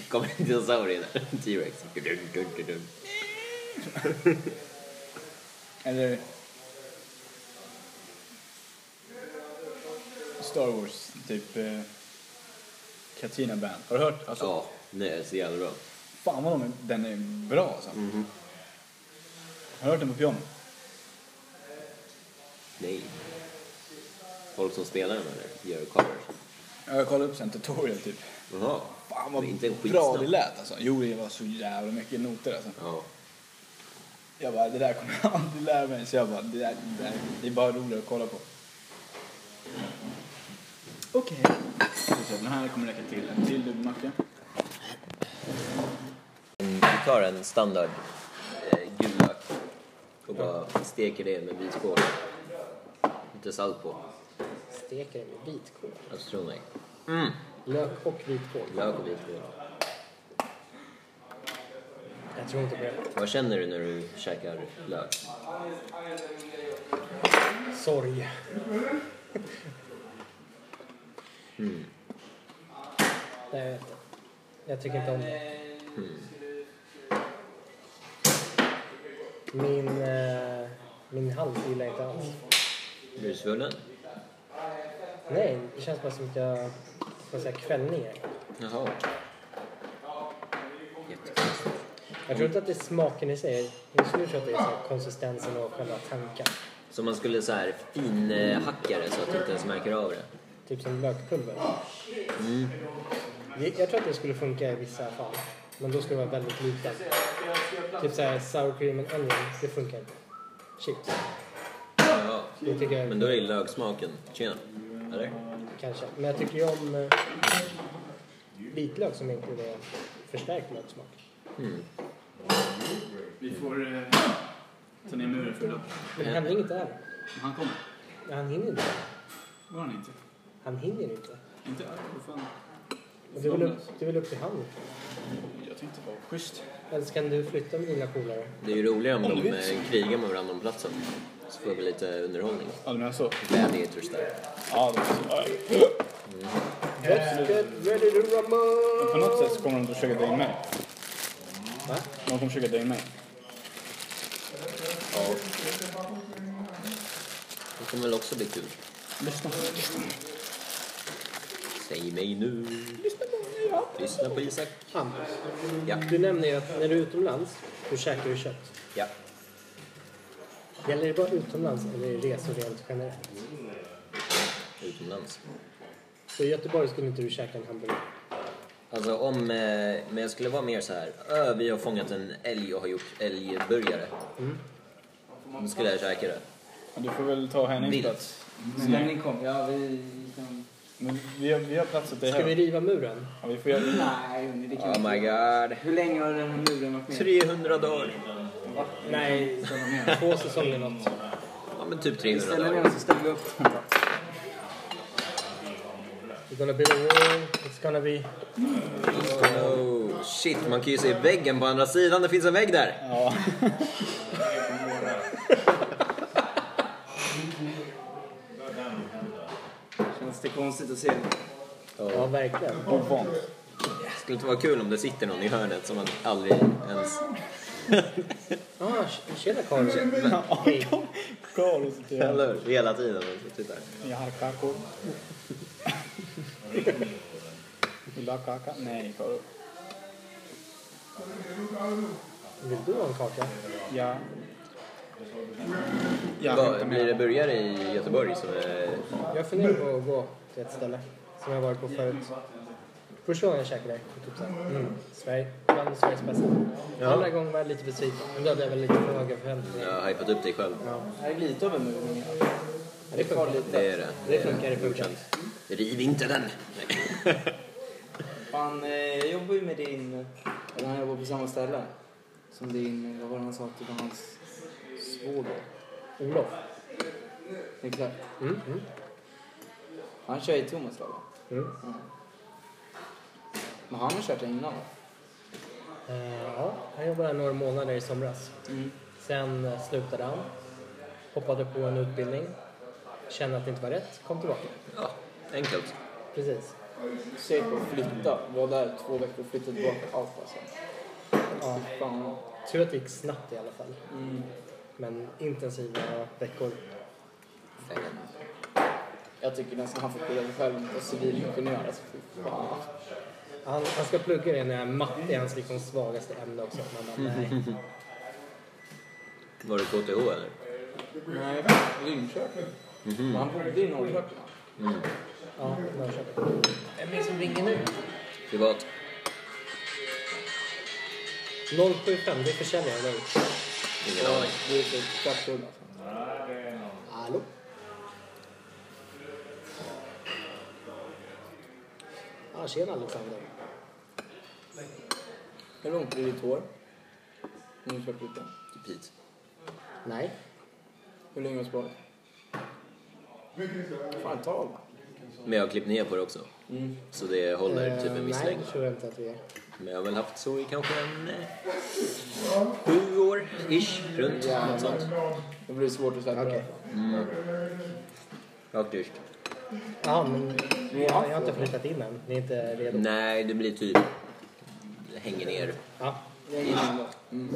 [SPEAKER 1] Kommer en dinosaurie där, en T-rex. Dudum, dudum, dudum.
[SPEAKER 3] Eller... Star Wars, typ... Eh, Katina Band. Har du hört? Alltså,
[SPEAKER 1] Ja, nej, det är så jävla bra.
[SPEAKER 3] Fan vad de, den är bra alltså. Har du hört den på piano?
[SPEAKER 1] Nej. Folk som spelar den eller gör covers.
[SPEAKER 3] Ja, Jag kollade upp sen tutorial typ.
[SPEAKER 1] Jaha.
[SPEAKER 3] Fan vad
[SPEAKER 1] Men inte en
[SPEAKER 3] bra
[SPEAKER 1] skitsnabb.
[SPEAKER 3] det lät alltså. Jo, det var så jävla mycket noter alltså.
[SPEAKER 1] Ja.
[SPEAKER 3] Jag bara, det där kommer jag aldrig lära mig. Så jag bara, det, där, det, där, det är bara roligare att kolla på. Okej. Ska vi se, Den här kommer räcka till. En till dubbelmacka.
[SPEAKER 1] Vi tar en standard eh, gul lök och bara steker det med vitkål. Lite salt på.
[SPEAKER 4] Steker den med vitkål.
[SPEAKER 1] Ostronägg.
[SPEAKER 4] Lök och vitkål.
[SPEAKER 1] Lök och vitkål.
[SPEAKER 4] Jag tror inte på det.
[SPEAKER 1] Vad känner du när du käkar lök?
[SPEAKER 4] Sorg. Nej, Mm. jag vet inte. Jag tycker inte om det. Min, eh, min hals gillar jag inte alls.
[SPEAKER 1] Blir du svullen?
[SPEAKER 4] Nej, det känns bara som att jag får säga kvällningar.
[SPEAKER 1] Jaha. Jättekonstigt.
[SPEAKER 4] Jag tror inte att det är smaken i sig. Jag skulle tro att det är så här konsistensen och själva tanken.
[SPEAKER 1] Så man skulle så här finhacka det så att du inte ens märker av det?
[SPEAKER 4] Typ som lökpulver.
[SPEAKER 1] Mm.
[SPEAKER 4] Jag, jag tror att det skulle funka i vissa fall. Men då skulle det vara väldigt liten. Typ såhär sour cream and onion, det funkar inte. Chips,
[SPEAKER 1] Ja,
[SPEAKER 4] det tycker jag
[SPEAKER 1] men då är ju löksmaken. Tjena. Eller?
[SPEAKER 4] kanske. Men jag tycker ju om eh, vitlök som inte är förstärkt löksmak.
[SPEAKER 7] Vi får eh, ta ner muren för idag.
[SPEAKER 4] Men det händer inget där.
[SPEAKER 7] Men han kommer.
[SPEAKER 4] Han hinner inte.
[SPEAKER 7] Var han inte?
[SPEAKER 4] Han hinner inte.
[SPEAKER 7] Inte? Ja, vad fan.
[SPEAKER 4] Och Det är väl upp, det är väl upp till han.
[SPEAKER 7] Jag tänkte vara schysst.
[SPEAKER 4] Eller så kan du flytta med dina polare.
[SPEAKER 1] Det är ju roligare om de eh, krigar med varandra om platsen. Så får vi lite underhållning.
[SPEAKER 3] Ja, du menar så?
[SPEAKER 1] Gladiators där.
[SPEAKER 3] Ja, det var så. Ja,
[SPEAKER 4] Let's get ready to rumble!
[SPEAKER 3] På något sätt så kommer de att försöka dra in mig.
[SPEAKER 4] Va?
[SPEAKER 3] De kommer försöka dra in mig.
[SPEAKER 1] Det kommer väl också bli kul.
[SPEAKER 3] Lyssna.
[SPEAKER 1] Säg mig nu. Lyssna på Isak.
[SPEAKER 4] Hampus,
[SPEAKER 1] Ja.
[SPEAKER 4] du nämner ju att när du är utomlands, då käkar du kött.
[SPEAKER 1] Ja.
[SPEAKER 4] Gäller det bara utomlands eller är det resor rent generellt?
[SPEAKER 1] utomlands.
[SPEAKER 4] Så i Göteborg skulle inte du käka en hamburgare?
[SPEAKER 1] Alltså om, eh, men jag skulle vara mer så här. Ö, vi har fångat en älg och har gjort älgburgare. Då skulle jag käka det.
[SPEAKER 3] Men Du får väl ta Hennings
[SPEAKER 1] Vilt.
[SPEAKER 3] plats.
[SPEAKER 7] Men
[SPEAKER 4] Mm.
[SPEAKER 7] när ni kom, ja vi kan...
[SPEAKER 3] Men vi har, vi har plats åt dig
[SPEAKER 4] Ska vi
[SPEAKER 3] här.
[SPEAKER 4] riva muren?
[SPEAKER 3] Ja, vi får göra det.
[SPEAKER 7] Nej, hörni, det kan
[SPEAKER 1] Oh
[SPEAKER 7] vi
[SPEAKER 1] my
[SPEAKER 7] inte.
[SPEAKER 1] god.
[SPEAKER 7] Hur länge har den här muren varit med?
[SPEAKER 1] 300 dagar.
[SPEAKER 4] Nej,
[SPEAKER 7] Ställer ni den?
[SPEAKER 4] två säsonger något.
[SPEAKER 1] Ja men typ
[SPEAKER 7] Vi
[SPEAKER 1] 300
[SPEAKER 7] ställer
[SPEAKER 1] dagar.
[SPEAKER 7] den så ställer vi upp den.
[SPEAKER 4] It's gonna be a wall, it's gonna be...
[SPEAKER 1] Oh, shit, man kan ju se väggen på andra sidan. Det finns en vägg där.
[SPEAKER 3] Ja.
[SPEAKER 7] Känns det konstigt att se den?
[SPEAKER 4] Ja, verkligen.
[SPEAKER 3] Ovant.
[SPEAKER 1] Skulle inte vara kul om det sitter någon i hörnet som man aldrig ens...
[SPEAKER 4] Ah, tj- tjena Karin. Hej.
[SPEAKER 3] Karl och så till
[SPEAKER 1] Eller hur? Hela tiden. man tittar.
[SPEAKER 3] Jag har kakor. Vill du ha kaka? Nej, Karl.
[SPEAKER 4] Vill du ha en kaka?
[SPEAKER 3] Ja. Jag
[SPEAKER 1] Vad, blir det burgare i Göteborg som är...
[SPEAKER 4] Jag funderar på att gå till ett ställe som jag varit på förut. Första gången jag käkade där, typ såhär, mm, Sverige, bland Sveriges bästa. Andra gången var jag lite besviken, men då hade jag väl lite för höga förväntningar.
[SPEAKER 1] Jag har hypat upp dig själv.
[SPEAKER 4] Ja.
[SPEAKER 7] Det här är lite av en mur. men jag-
[SPEAKER 4] Ja, det funkar.
[SPEAKER 1] Det är det.
[SPEAKER 4] Det funkar, det funkar.
[SPEAKER 1] Riv inte den!
[SPEAKER 7] Fan, eh, jag jobbar ju med din... Eller han jobbar på samma ställe. Som din... Vad var det han sa? Typ hans svåger.
[SPEAKER 4] Olof?
[SPEAKER 7] Exakt.
[SPEAKER 4] Mm, mm,
[SPEAKER 7] Han kör i Tomaslöv va?
[SPEAKER 4] mm.
[SPEAKER 7] Ja. Men han har kört det innan va?
[SPEAKER 4] Eh, ja, han jobbade här några månader i somras.
[SPEAKER 7] Mm.
[SPEAKER 4] Sen eh, slutade han, hoppade på en utbildning, kände att det inte var rätt, kom tillbaka.
[SPEAKER 1] Ja, enkelt.
[SPEAKER 4] Precis.
[SPEAKER 7] Sök och flytta. Var där två veckor och flyttade tillbaka. Allt alltså.
[SPEAKER 4] Ja,
[SPEAKER 7] Fan.
[SPEAKER 4] tur att det gick snabbt i alla fall.
[SPEAKER 7] Mm.
[SPEAKER 4] Men intensiva veckor.
[SPEAKER 7] Jag tycker nästan han får skylla sig själv och civilingenjör. Alltså fy fan.
[SPEAKER 4] Han, han ska plugga det när matte är hans liksom svagaste ämne också. Man bara, nej.
[SPEAKER 1] Var det KTH eller?
[SPEAKER 7] Nej, Linköping. Men Han bodde i Norrköping. va?
[SPEAKER 4] Ja, Norrköping. Vem är det som ringer nu?
[SPEAKER 1] Privat.
[SPEAKER 4] 075, det är försäljaren. Nej.
[SPEAKER 1] Ingen aning.
[SPEAKER 7] Det är typ tvärtom alltså.
[SPEAKER 4] Hallå? Ah, tjena Alexander.
[SPEAKER 7] Hur långt blir ditt hår? När du kör flytten?
[SPEAKER 1] Typ hit.
[SPEAKER 4] Nej.
[SPEAKER 7] Hur länge har du sparat? Fan, ett tag va?
[SPEAKER 1] Men jag har klippt ner på det också.
[SPEAKER 7] Mm.
[SPEAKER 1] Så det håller
[SPEAKER 4] Eh,
[SPEAKER 1] typ en viss
[SPEAKER 4] nej,
[SPEAKER 1] längd.
[SPEAKER 4] det tror jag inte att vi är.
[SPEAKER 1] Men jag har väl haft så i kanske en... eh, Sju år, ish, runt.
[SPEAKER 7] Jävlar.
[SPEAKER 1] Något sånt.
[SPEAKER 7] Det blir svårt att släppa
[SPEAKER 4] Okej.
[SPEAKER 7] det.
[SPEAKER 1] Faktiskt.
[SPEAKER 4] Ja, men jag har inte
[SPEAKER 7] afro.
[SPEAKER 4] flyttat in än. Ni är inte redo?
[SPEAKER 1] Nej, det blir typ... Hänger ner.
[SPEAKER 4] Ja.
[SPEAKER 7] Det är ingen ändå. Mm.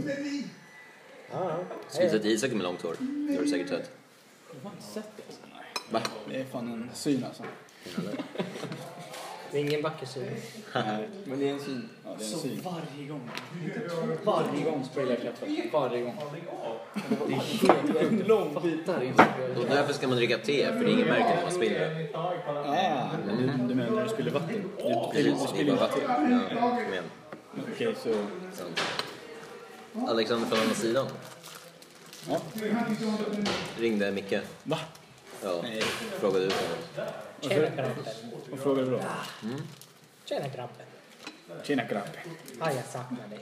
[SPEAKER 4] Ja,
[SPEAKER 1] Skulle
[SPEAKER 4] ja.
[SPEAKER 1] sett Isak med långt hår. Det har du säkert sett.
[SPEAKER 7] Jag har inte sett det alltså.
[SPEAKER 1] Va?
[SPEAKER 3] Det är fan en syn alltså.
[SPEAKER 4] Det är ingen vacker syn.
[SPEAKER 3] Nej,
[SPEAKER 7] Men det är en syn.
[SPEAKER 3] ja, det är en syn.
[SPEAKER 7] varje gång. Varje gång spelar jag kräftor. Varje gång. Det är helt lång bit där inne.
[SPEAKER 1] Och därför ska man dricka te, för det är ingen märke när man spiller det.
[SPEAKER 3] Ah, du, du menar när du spiller vatten? Du, du, du
[SPEAKER 1] Precis, det är
[SPEAKER 3] spiller
[SPEAKER 1] bara
[SPEAKER 3] vatten.
[SPEAKER 1] vatten. Ja, kom igen.
[SPEAKER 3] Okej, så...
[SPEAKER 1] Sant. Alexander från andra sidan
[SPEAKER 3] Ja.
[SPEAKER 1] ringde Micke.
[SPEAKER 3] Va?
[SPEAKER 1] Ja,
[SPEAKER 3] Nej.
[SPEAKER 1] frågade ut honom.
[SPEAKER 4] Tjena grabben.
[SPEAKER 3] Vad frågar du då?
[SPEAKER 4] Tjena grabben.
[SPEAKER 3] Tjena grabbe.
[SPEAKER 4] Ah, jag saknar dig.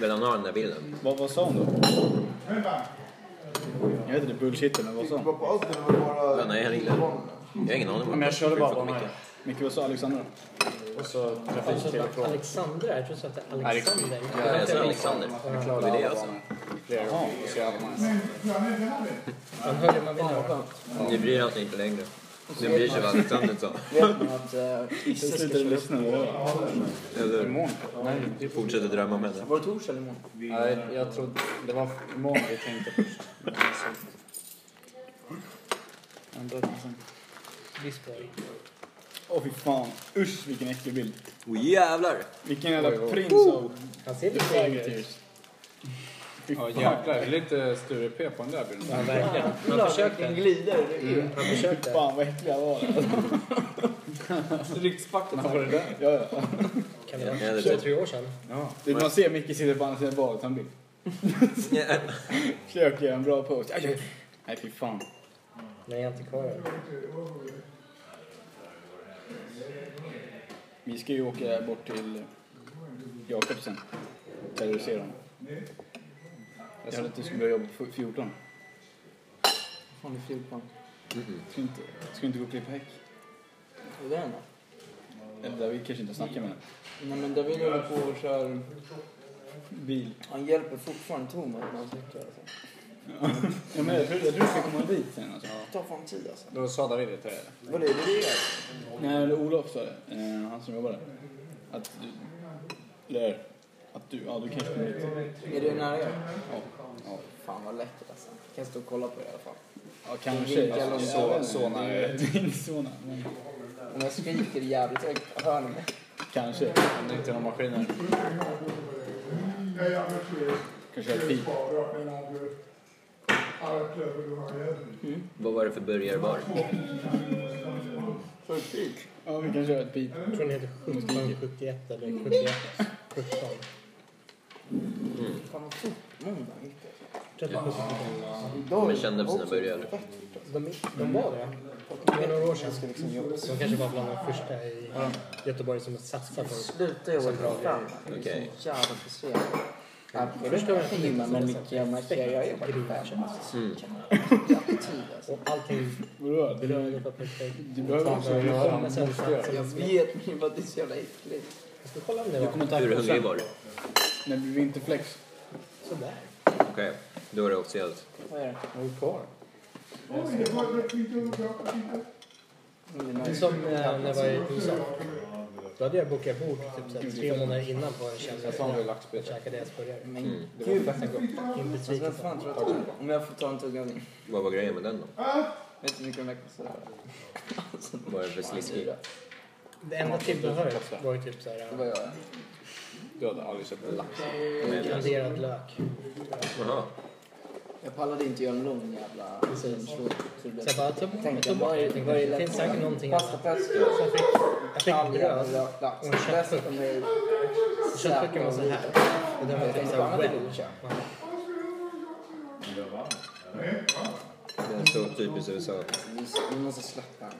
[SPEAKER 1] Vill han ha den där bilden?
[SPEAKER 3] Vad, vad sa hon då? Jag vet inte, bullshit men vad sa hon?
[SPEAKER 1] Ja, nej, han ringde. Jag har ingen aning.
[SPEAKER 7] Men jag körde bara på mig.
[SPEAKER 3] Micke, vad sa Alexandra då?
[SPEAKER 7] Och så
[SPEAKER 4] Alltså,
[SPEAKER 7] trafiktelefon.
[SPEAKER 4] Alexandra, jag tror så att det är Alexander.
[SPEAKER 1] Ja, jag sa Alexander. Det var det alltså. jag sa.
[SPEAKER 3] Jaha.
[SPEAKER 4] Man hör det man vill höra.
[SPEAKER 1] Ni bryr er alltså inte längre. Ni bryr sig vad Alexander sa.
[SPEAKER 7] Vet ni att eh,
[SPEAKER 3] Jag
[SPEAKER 7] Isse ska
[SPEAKER 3] slutade
[SPEAKER 7] köra upp?
[SPEAKER 3] lyssna. då.
[SPEAKER 1] Eller
[SPEAKER 7] Imorgon? Nej,
[SPEAKER 1] fortsätter drömma med det.
[SPEAKER 7] var det torsdag eller imorgon?
[SPEAKER 8] Nej, jag trodde... Det var imorgon vi tänkte först.
[SPEAKER 4] Visborg.
[SPEAKER 3] Åh fy fan. Usch vilken äcklig bild.
[SPEAKER 1] Åh jävlar!
[SPEAKER 3] Vilken jävla
[SPEAKER 8] Oj, oj.
[SPEAKER 3] prins av
[SPEAKER 4] Han ser lite äldre ut.
[SPEAKER 3] äventyrs.
[SPEAKER 8] Ja jäklar, det är lite Sture P på den där bilden.
[SPEAKER 4] Ja, verkligen. Han
[SPEAKER 7] Lars
[SPEAKER 4] försökte.
[SPEAKER 7] glider. Mm.
[SPEAKER 4] Han försökte.
[SPEAKER 3] Fan vad äckliga var det.
[SPEAKER 7] Ryggspacken.
[SPEAKER 8] Vad var det där?
[SPEAKER 3] Ja, ja.
[SPEAKER 4] Kan det vara
[SPEAKER 1] Ja, det-
[SPEAKER 4] 23 år sedan?
[SPEAKER 8] Ja.
[SPEAKER 3] Det- Man ser Micke sitter på andra sidan badet, han blir... Försöker göra en bra post. Aj, aj.
[SPEAKER 8] Nej fy fan.
[SPEAKER 4] Nej, antikvarien.
[SPEAKER 3] Vi ska ju åka bort till Jakob sen. Där du ser honom. Jag sa att du skulle börja jobba på 14.
[SPEAKER 7] Fan, det är 14.
[SPEAKER 3] Ska inte, ska inte gå och klippa häck?
[SPEAKER 7] Vad är det då?
[SPEAKER 3] Eller där vi kanske inte snackar med honom.
[SPEAKER 7] Nej men David håller på och kör...
[SPEAKER 3] Bil.
[SPEAKER 7] Han hjälper fortfarande Thomas när han cyklar alltså.
[SPEAKER 3] Ja, men jag tror jag tror du ska komma dit sen alltså.
[SPEAKER 7] Det tar fan tid alltså.
[SPEAKER 8] Då sa David det till dig?
[SPEAKER 7] Vad är det du gör?
[SPEAKER 3] Nej, men Olof sa det. Eh, han som jobbar där. Att du... Eller att du... Ja, du kanske kommer hit.
[SPEAKER 7] Är det nära er?
[SPEAKER 3] Ja. ja.
[SPEAKER 7] Fan vad läckert alltså. Jag kan stå och kolla på det i alla fall.
[SPEAKER 3] Ja,
[SPEAKER 7] Vinkel
[SPEAKER 3] kanske.
[SPEAKER 7] och
[SPEAKER 8] så- Alltså, så nära.
[SPEAKER 3] Det är inte så nära. men
[SPEAKER 7] Om jag skriker jävligt högt, hör ni mig?
[SPEAKER 3] Kanske.
[SPEAKER 8] Om det inte är någon maskiner.
[SPEAKER 5] Nej, jag tror
[SPEAKER 3] Kanske är
[SPEAKER 5] det
[SPEAKER 3] fint.
[SPEAKER 5] är bara men att du- alla klöver du har här.
[SPEAKER 1] Vad var det för burgarbar?
[SPEAKER 3] Ja, vi kan köra ett pip.
[SPEAKER 4] Jag tror den heter 1771 eller 71. 17.
[SPEAKER 7] Fan vad fort måndag gick det.
[SPEAKER 4] Jag tror att det var 17.
[SPEAKER 7] Idag
[SPEAKER 1] Men kände på sina burgare.
[SPEAKER 4] De, de var det. Det var några år sedan.
[SPEAKER 7] ska liksom jobba.
[SPEAKER 4] De kanske var bland de första i Göteborg som satsade på det.
[SPEAKER 7] Sluta jobba klockan fem.
[SPEAKER 1] Okej.
[SPEAKER 7] Så jävla frustrerande. Ja, Först har jag inte himla men mycket jag markerar. Jag jobbar till fem. Jävla tid alltså.
[SPEAKER 4] Och allting
[SPEAKER 3] Vadå? Det där-
[SPEAKER 4] berörde på perfekt.
[SPEAKER 3] Du behöver också göra
[SPEAKER 4] Men sen satsade
[SPEAKER 7] Jag vet men bara det är så jävla äckligt.
[SPEAKER 4] Jag ska kolla om det var
[SPEAKER 1] Hur hungrig var du?
[SPEAKER 3] Nej, vi inte flex.
[SPEAKER 4] sådär.
[SPEAKER 1] Okej, då är det officiellt.
[SPEAKER 7] Vad är det?
[SPEAKER 8] Vad är kvar?
[SPEAKER 5] Oj, det var det fint att jag inte...
[SPEAKER 4] Det är som eh, när jag var i USA. Då hade jag bokat bord typ så här, tre månader innan på en
[SPEAKER 8] Jag sa han
[SPEAKER 4] källare.
[SPEAKER 8] var
[SPEAKER 4] Jag
[SPEAKER 8] laxbete.
[SPEAKER 4] käkade deras burgare.
[SPEAKER 7] Men
[SPEAKER 1] Mm.
[SPEAKER 8] Det var
[SPEAKER 7] gud.
[SPEAKER 8] fett gott.
[SPEAKER 4] Min
[SPEAKER 7] Alltså, vem
[SPEAKER 4] besvikelse.
[SPEAKER 7] fan tror jag att Om jag får ta en tugga av din.
[SPEAKER 1] Vad var grejen med den då?
[SPEAKER 7] Vet du hur mycket de där kostar? Alltså,
[SPEAKER 1] Vad är det för
[SPEAKER 7] fan,
[SPEAKER 1] sliskig?
[SPEAKER 7] dyra.
[SPEAKER 4] Det enda tillbehöret var ju typ
[SPEAKER 7] Det
[SPEAKER 4] såhär
[SPEAKER 7] var
[SPEAKER 4] eh,
[SPEAKER 7] jag.
[SPEAKER 8] Du hade aldrig köpt lax.
[SPEAKER 4] kanderad lök.
[SPEAKER 1] Jaha.
[SPEAKER 7] Jag pallade inte göra en lång jävla svinslåt. Så det blev-
[SPEAKER 4] Så jag bara tog bort
[SPEAKER 7] Tänkte
[SPEAKER 4] tog bort
[SPEAKER 7] vad
[SPEAKER 4] det.
[SPEAKER 7] är vad är
[SPEAKER 4] Det finns säkert någonting annat.
[SPEAKER 7] Pastapesto,
[SPEAKER 4] Så jag fick, jag fick bröd.
[SPEAKER 7] kalja, lax.
[SPEAKER 4] och en köttbuck.
[SPEAKER 7] Dessutom är
[SPEAKER 4] Köttbucken var så här. Och den var typ
[SPEAKER 7] Jag tänkte
[SPEAKER 4] såhär
[SPEAKER 7] annat är
[SPEAKER 4] well.
[SPEAKER 7] godkänt.
[SPEAKER 1] Det är så typiskt USA.
[SPEAKER 7] Vi- Vi måste släppa den.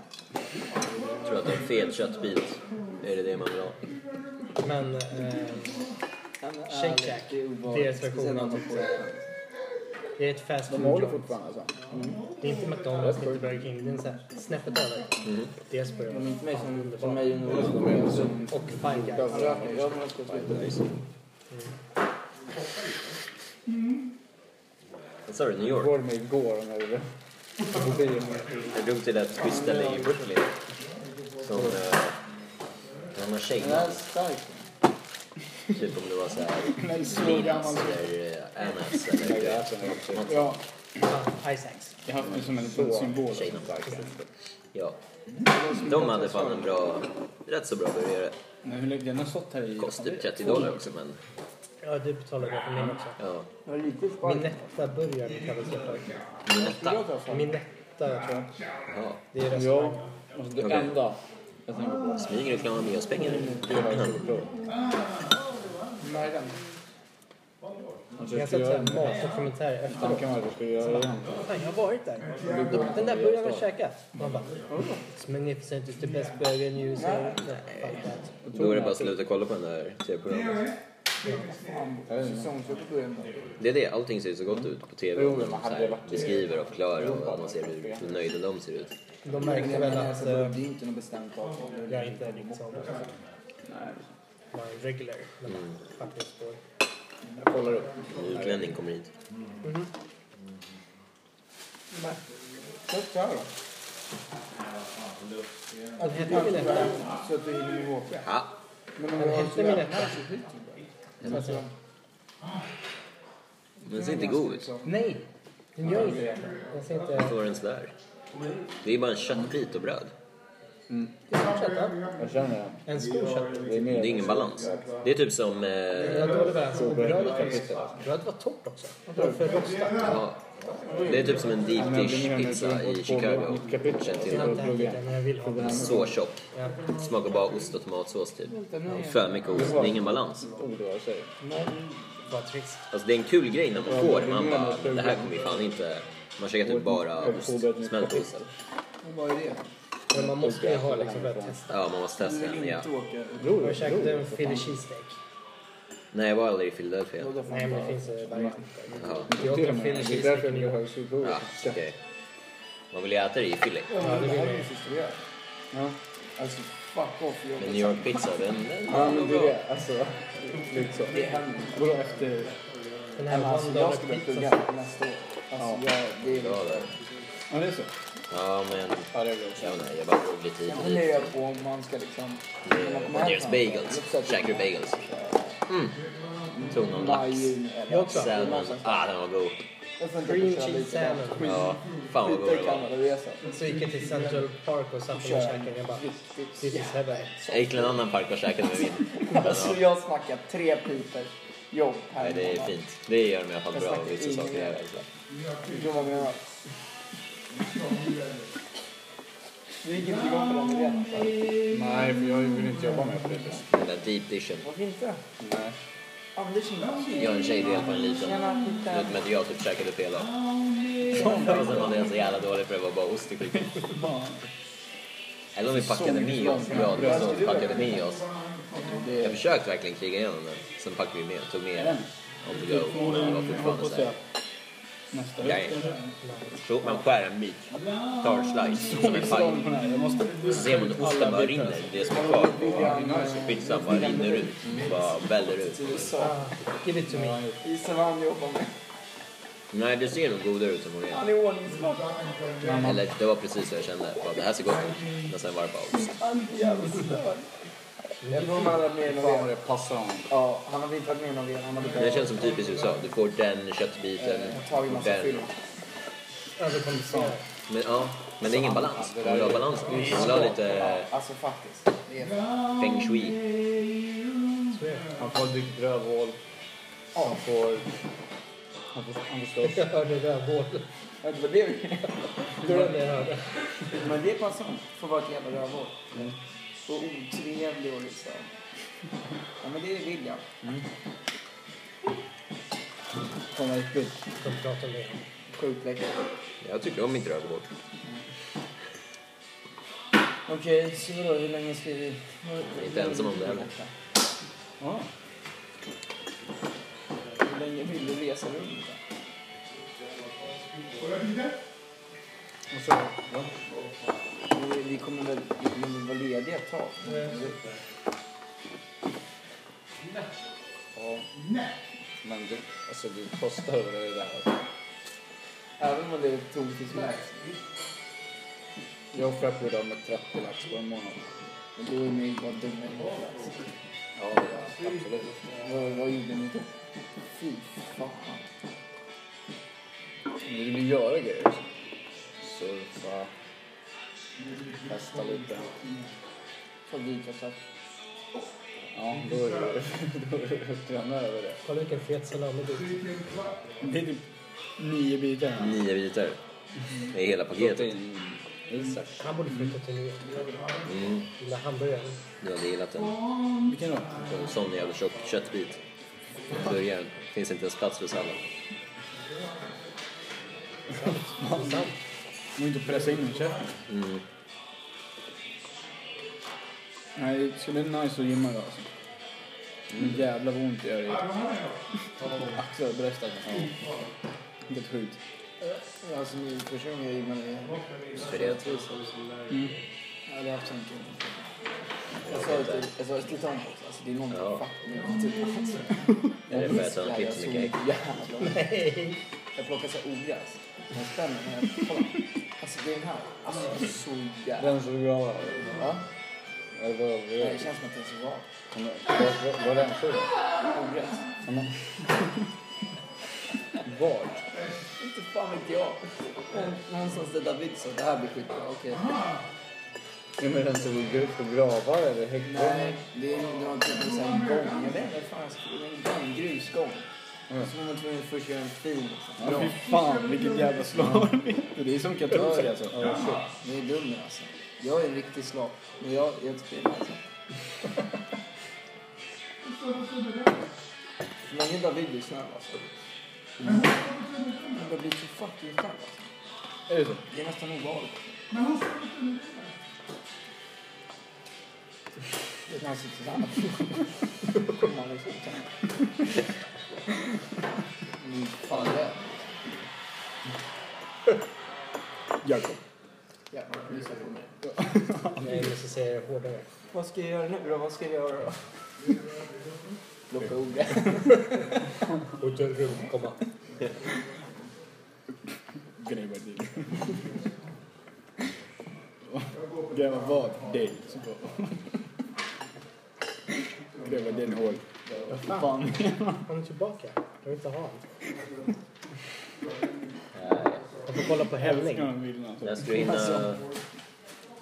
[SPEAKER 1] Jag tror att en fet köttbit, är det det man vill ha?
[SPEAKER 4] Men eh,
[SPEAKER 7] Ja, men
[SPEAKER 4] Shake
[SPEAKER 7] ärligt,
[SPEAKER 4] Shack.
[SPEAKER 7] det är obehagligt.
[SPEAKER 4] Deras version
[SPEAKER 7] Speciellt
[SPEAKER 4] av
[SPEAKER 7] när man
[SPEAKER 4] typ
[SPEAKER 7] får
[SPEAKER 4] så här.
[SPEAKER 7] det.
[SPEAKER 4] det är ett fast
[SPEAKER 3] De
[SPEAKER 4] food
[SPEAKER 3] håller
[SPEAKER 4] joint.
[SPEAKER 3] fortfarande alltså.
[SPEAKER 4] Det är inte McDonalds, det är inte Burger King. Det är en sån här snäppet över. Dels på
[SPEAKER 7] De är inte mig
[SPEAKER 4] det.
[SPEAKER 7] som- som mig och Nora. De är Mm. som-
[SPEAKER 4] Och Five Guys.
[SPEAKER 7] Han röker. Jag kommer att sluta.
[SPEAKER 1] Vad sa du? New
[SPEAKER 8] Jag
[SPEAKER 1] York?
[SPEAKER 8] går med igår om jag ville. Jag blir med.
[SPEAKER 1] Jag drog till ett skysställe i Brooklyn. Som... Eh, han har
[SPEAKER 7] Den här är
[SPEAKER 1] shakemat.
[SPEAKER 7] stark.
[SPEAKER 1] Typ om det var såhär...
[SPEAKER 3] Nej, så gammal.
[SPEAKER 1] Beans eller eh, ananas eller... eh,
[SPEAKER 3] Ja,
[SPEAKER 4] Ja, Isaacs.
[SPEAKER 3] jag har haft den som en liten symbol.
[SPEAKER 1] Ja. De hade fan en bra... Rätt så bra burgare.
[SPEAKER 3] Men hur länge den har stått här i...
[SPEAKER 1] Kostade typ 30 dollar också men...
[SPEAKER 4] Ja, du betalade jag för min också.
[SPEAKER 1] Ja.
[SPEAKER 7] Jag är lite
[SPEAKER 4] Min
[SPEAKER 7] spark.
[SPEAKER 4] nätta burgare kallas det.
[SPEAKER 1] Minetta.
[SPEAKER 4] Min nätta, tror jag.
[SPEAKER 1] Jaha.
[SPEAKER 4] Det är restaurang.
[SPEAKER 3] Ja, alltså det enda jag tänker på.
[SPEAKER 1] Smyger reklam med oss pengar.
[SPEAKER 3] Det är faktiskt ett prov. Alltså,
[SPEAKER 4] Jag
[SPEAKER 3] jag
[SPEAKER 4] har
[SPEAKER 3] ska
[SPEAKER 4] sett
[SPEAKER 3] göra
[SPEAKER 4] såhär
[SPEAKER 3] det.
[SPEAKER 4] matdokumentärer efteråt.
[SPEAKER 3] Tanken var att jag skulle göra det igen.
[SPEAKER 4] Fan, jag har varit där. Den där burgaren har jag käkat. Man bara... Magnificent is the best burger in USA. Nej, fuck that.
[SPEAKER 1] Då är det bara att sluta kolla på den där tv-programmet.
[SPEAKER 7] Säsongsköp i början.
[SPEAKER 1] Det är det, allting ser ju så gott ut på tv.
[SPEAKER 8] Jo,
[SPEAKER 1] Om
[SPEAKER 8] men
[SPEAKER 1] de
[SPEAKER 8] man
[SPEAKER 1] så
[SPEAKER 8] hade
[SPEAKER 1] här
[SPEAKER 8] varit-
[SPEAKER 1] beskriver och förklarar och vad man ser hur hur nöjda de ser ut.
[SPEAKER 4] De
[SPEAKER 7] Men
[SPEAKER 4] märkte
[SPEAKER 7] jag
[SPEAKER 4] väl
[SPEAKER 7] menar,
[SPEAKER 4] att
[SPEAKER 7] alltså, Det är
[SPEAKER 4] eh,
[SPEAKER 7] ju inte något bestämt avtal.
[SPEAKER 4] jag inte är liksom... Var en regular. Men faktiskt på...
[SPEAKER 8] Jag kollar upp.
[SPEAKER 1] En utlänning kommer hit.
[SPEAKER 7] Kött här då?
[SPEAKER 4] Den hette min etta.
[SPEAKER 7] Så att du hinner med vårt.
[SPEAKER 1] Ja,
[SPEAKER 7] Men om
[SPEAKER 4] Den
[SPEAKER 7] du har
[SPEAKER 4] hette min etta.
[SPEAKER 7] så
[SPEAKER 1] den ser inte god ut.
[SPEAKER 4] Nej! Den gör inte det. Den ser inte...
[SPEAKER 1] Varför var den sådär? Det är bara en köttbit och bröd.
[SPEAKER 8] Mm.
[SPEAKER 4] Det är snart sett, va?
[SPEAKER 8] Jag känner det.
[SPEAKER 4] En stor köttbulle.
[SPEAKER 8] Det är, mer
[SPEAKER 1] Det är ingen balans. Det är typ som... Eh,
[SPEAKER 4] Jag har dålig balans. Och brödet
[SPEAKER 8] kapitel.
[SPEAKER 4] var, brödet var torrt också. Varför rostat?
[SPEAKER 1] ja, det är typ som en deep dish pizza i Chicago. Den
[SPEAKER 4] Jag har
[SPEAKER 1] till
[SPEAKER 4] inte ätit den, men jag vill ha den.
[SPEAKER 1] så tjock.
[SPEAKER 4] Ja.
[SPEAKER 1] Smakar bara ost och tomatsås typ. För mycket ost. Det är ingen balans.
[SPEAKER 8] Ord vad jag säger.
[SPEAKER 4] Bara tricks.
[SPEAKER 1] Alltså det är en kul grej när man får det. Man bara, det här kommer vi fan inte... Man käkar typ bara ost. Smält ost.
[SPEAKER 7] Vad är det?
[SPEAKER 4] Men man måste ju ha liksom börjat testa.
[SPEAKER 1] Ja, man måste
[SPEAKER 7] Du
[SPEAKER 1] testa
[SPEAKER 7] vill
[SPEAKER 1] den. Ja.
[SPEAKER 7] inte åka.
[SPEAKER 8] Bror,
[SPEAKER 4] Jag käkade en
[SPEAKER 8] bror.
[SPEAKER 4] Philly cheesesteak.
[SPEAKER 1] Nej, jag var aldrig i Philadelphia.
[SPEAKER 7] Det var därför
[SPEAKER 4] Nej,
[SPEAKER 7] han
[SPEAKER 4] men det
[SPEAKER 7] bara-
[SPEAKER 4] finns eh, varianter.
[SPEAKER 1] Jaha.
[SPEAKER 4] Jag åt
[SPEAKER 8] Det är
[SPEAKER 4] en Philly cheesesteak
[SPEAKER 8] därför
[SPEAKER 4] i
[SPEAKER 8] jag
[SPEAKER 4] New
[SPEAKER 8] vill
[SPEAKER 4] York.
[SPEAKER 8] ha högskoleprovet.
[SPEAKER 1] Ja, okej. Man vill ju äta det i Philly.
[SPEAKER 4] Ja, det
[SPEAKER 7] Det
[SPEAKER 4] vill
[SPEAKER 7] här
[SPEAKER 4] jag
[SPEAKER 7] är
[SPEAKER 4] ju.
[SPEAKER 7] ju sist vi gör.
[SPEAKER 8] Ja.
[SPEAKER 7] Alltså fuck off. Jag
[SPEAKER 1] Men New York pizza, den... den
[SPEAKER 8] Ja, men det är det. Alltså, lite så.
[SPEAKER 7] Det händer.
[SPEAKER 3] Vadå efter?
[SPEAKER 4] Den här
[SPEAKER 7] Alltså,
[SPEAKER 4] one
[SPEAKER 7] jag
[SPEAKER 4] dollar
[SPEAKER 7] ska börja
[SPEAKER 4] pizza.
[SPEAKER 7] plugga nästa år. Alltså jag, det är
[SPEAKER 1] Ja, där.
[SPEAKER 8] Ja, det är så.
[SPEAKER 1] ja, men...
[SPEAKER 8] Ja, det är bra.
[SPEAKER 1] Jag vet inte, jag bara drog lite hit
[SPEAKER 7] Jag
[SPEAKER 1] och
[SPEAKER 7] funderar
[SPEAKER 1] dit.
[SPEAKER 7] jag på om man ska liksom... när man kommer
[SPEAKER 1] Eh,
[SPEAKER 7] hem
[SPEAKER 1] Deras
[SPEAKER 7] från-
[SPEAKER 1] bagels.
[SPEAKER 7] så att-
[SPEAKER 1] Käkar du bagels? Mm. Tog någon
[SPEAKER 7] Maj,
[SPEAKER 1] lax.
[SPEAKER 7] juni eller-
[SPEAKER 4] Jag också.
[SPEAKER 1] Salmon. Ah, den var god.
[SPEAKER 7] Jag funderar på att
[SPEAKER 4] Green
[SPEAKER 7] köra
[SPEAKER 4] cheese
[SPEAKER 7] lite grann.
[SPEAKER 4] salmon.
[SPEAKER 1] Ja, fan vad god
[SPEAKER 7] Skita
[SPEAKER 1] den
[SPEAKER 7] i
[SPEAKER 1] var.
[SPEAKER 7] Kanadaresan.
[SPEAKER 4] Så gick jag till Central Park och satt mig och käkade. Jag bara, this is heaven.
[SPEAKER 1] Jag gick till en annan park och käkade med min. Men,
[SPEAKER 7] Alltså
[SPEAKER 1] ja.
[SPEAKER 7] jag snackar tre pipers jobb här
[SPEAKER 1] Nej, det är fint. Det gör mig i alla fall
[SPEAKER 7] Jag
[SPEAKER 1] bra
[SPEAKER 7] snackar
[SPEAKER 1] vissa
[SPEAKER 7] ingen
[SPEAKER 1] saker. här,
[SPEAKER 7] jävla-
[SPEAKER 1] alltså.
[SPEAKER 7] Förstår du vad jag menar? Du gick inte igång på den idén alltså.
[SPEAKER 8] Nej, för jag vill inte jobba med Fredrik.
[SPEAKER 1] Den där deep dishen.
[SPEAKER 7] Varför inte?
[SPEAKER 8] Nej.
[SPEAKER 7] Anders inte.
[SPEAKER 1] Jag och en tjej delade på en liten.
[SPEAKER 7] Tjena, titta.
[SPEAKER 1] Men jag typ käkade upp hela. Och sen var den så jävla dålig för det var bara ost i skiten. Eller om vi packade med oss. Ja, det var så att vi packade med oss. Jag försökte verkligen kriga igenom den. Sen packade vi med, tog med den. On the go. Det var fortfarande
[SPEAKER 3] Hoppas
[SPEAKER 1] såhär.
[SPEAKER 3] jag. Nästa
[SPEAKER 1] Nej.
[SPEAKER 3] vecka.
[SPEAKER 1] Så man skär en bit, tar slice som en
[SPEAKER 3] Slag
[SPEAKER 1] paj.
[SPEAKER 3] på den här. Jag måste...
[SPEAKER 1] Så ser man att osten bara rinner, det som är kvar på pizzan bara rinner ut. Bara väller ut.
[SPEAKER 7] USA.
[SPEAKER 8] Ah.
[SPEAKER 4] Give it to me.
[SPEAKER 7] Gissa vad han jobbar med.
[SPEAKER 1] Nej, det ser nog godare ut än vad det är.
[SPEAKER 7] Han är ordningsvakt.
[SPEAKER 1] Eller det var precis vad jag kände. Bara, det här ser gott ut. Men sen var det bara ost.
[SPEAKER 7] Han är jävligt störd. Jag tror han hade varit med i
[SPEAKER 8] Fan vad
[SPEAKER 7] någon
[SPEAKER 8] det passar honom.
[SPEAKER 7] Ja, han hade inte varit med i någon Han hade
[SPEAKER 1] Men det känns som typiskt USA. Du får den köttbiten,
[SPEAKER 7] tagit massa
[SPEAKER 1] den.
[SPEAKER 7] film.
[SPEAKER 4] Överkompenserat.
[SPEAKER 1] Men, ja, men det är ingen balans. Man vill ha balans. Man vill ha lite
[SPEAKER 7] Alltså faktiskt. Det är...
[SPEAKER 1] feng shui.
[SPEAKER 8] Han får dricka rövhål. Han får... Han får, han får slåss.
[SPEAKER 4] Jag hörde rövhål.
[SPEAKER 7] Ja, Det var det vi...
[SPEAKER 4] Det var det jag hörde.
[SPEAKER 7] Men det passar honom. Får vara ett jävla rövhål.
[SPEAKER 8] Mm.
[SPEAKER 7] Och otrevlig och liksom... Ja men det vill jag.
[SPEAKER 8] Han är äcklig.
[SPEAKER 4] De pratar om det.
[SPEAKER 7] Sjukt läckert.
[SPEAKER 1] Jag tycker om mitt rövhål.
[SPEAKER 7] Okej, så då, hur länge ska vi...
[SPEAKER 1] är inte ensam om det heller.
[SPEAKER 7] Ja. Hur länge vill du resa runt?
[SPEAKER 8] Och så...
[SPEAKER 7] Vi, vi kommer väl vi kommer väl vara lediga ett tag?
[SPEAKER 8] Ja. Men det, alltså det kostar över det där.
[SPEAKER 7] Även om det är tog till max.
[SPEAKER 8] Jag frappade idag med 30 lax på en månad.
[SPEAKER 7] Men då är ni ju bara dumma i huvudet, alltså.
[SPEAKER 8] Ja, ja, absolut.
[SPEAKER 7] Vad, vad gjorde ni då? Fy fan.
[SPEAKER 8] Men vi vill ju göra grejer. Surfa. Festa lite.
[SPEAKER 7] Fabrikasläpp.
[SPEAKER 8] Ja, då är det då är det grannar över det.
[SPEAKER 4] Kolla vilken fet salamibit.
[SPEAKER 3] Det är typ nio bitar.
[SPEAKER 1] Nio bitar. Det är hela paketet.
[SPEAKER 8] Protein. Isak.
[SPEAKER 4] Han borde flytta till New York.
[SPEAKER 1] Mm,
[SPEAKER 4] Gillar hamburgaren.
[SPEAKER 1] du hade gillat den.
[SPEAKER 8] Vilken då?
[SPEAKER 1] På en sån jävla tjock köttbit. Burgaren. Finns inte ens plats för sallad.
[SPEAKER 3] Man inte pressa in en käften.
[SPEAKER 1] Mm.
[SPEAKER 3] Nej, det skulle bli nice att gymma idag alltså. Men jävlar vad ont det gör i axlar och bröst alltså. Helt sjukt.
[SPEAKER 7] Alltså min första gång jag gymmade i
[SPEAKER 1] det.
[SPEAKER 7] Jag hade haft sån kille. Jag sa att jag- jag sa att jag skulle ta en box. Alltså det är någonting
[SPEAKER 1] Ja.
[SPEAKER 7] fuck med typ. Alltså,
[SPEAKER 1] Är det för att han har klippt så
[SPEAKER 7] så
[SPEAKER 1] mycket ägg?
[SPEAKER 7] jävla
[SPEAKER 4] Nej!
[SPEAKER 7] Jag plockar så här ogräs. Jag spänner när jag kollar. Alltså det är den här. Alltså jag är så jävla...
[SPEAKER 8] Den såg bra ut.
[SPEAKER 7] Ja.
[SPEAKER 8] Eller vad var
[SPEAKER 7] Det
[SPEAKER 8] det?
[SPEAKER 7] känns som att det är så bra.
[SPEAKER 8] eh, Vad rensade du?
[SPEAKER 7] Ogräs.
[SPEAKER 8] Vart?
[SPEAKER 7] Inte fan vet jag. Men Någonstans där David sa det här blir skitbra. Okej.
[SPEAKER 8] Ja, men alltså, vi går upp på gravar eller häckgångar.
[SPEAKER 7] Nej, det är nog det var typ en sån här gång. Jag vet inte, fan, jag skulle- en gång, en grusgång. Så var man tvungen att först göra en fin.
[SPEAKER 3] Ja, fy fan vilket jävla slarv. Det är som katolska alltså. Ja,
[SPEAKER 7] Det är dum alltså. Jag är en riktig slav. Men jag, jag tycker alltså. Så länge David blir snäll alltså. Men David är så fucking snäll alltså.
[SPEAKER 8] Är det så?
[SPEAKER 7] Det är nästan ovanligt. Det är när han sitter såhär. Kommer han liksom såhär. Mm, Fan det är.
[SPEAKER 3] Jakob.
[SPEAKER 7] Jävlar, lyssna på mig.
[SPEAKER 4] Jag är ingen som säger det hårdare.
[SPEAKER 7] Vad ska jag göra nu då? Vad ska jag göra då? Plocka ordet.
[SPEAKER 4] Hotellrum, komma.
[SPEAKER 3] Gräva dig. Gräva vad? Dig. Så bra. Gräva den hål. Vad fan.
[SPEAKER 4] Han är tillbaka. Jag vill inte ha honom. Jag får kolla på Henning.
[SPEAKER 3] alltså.
[SPEAKER 1] När ska du hinna,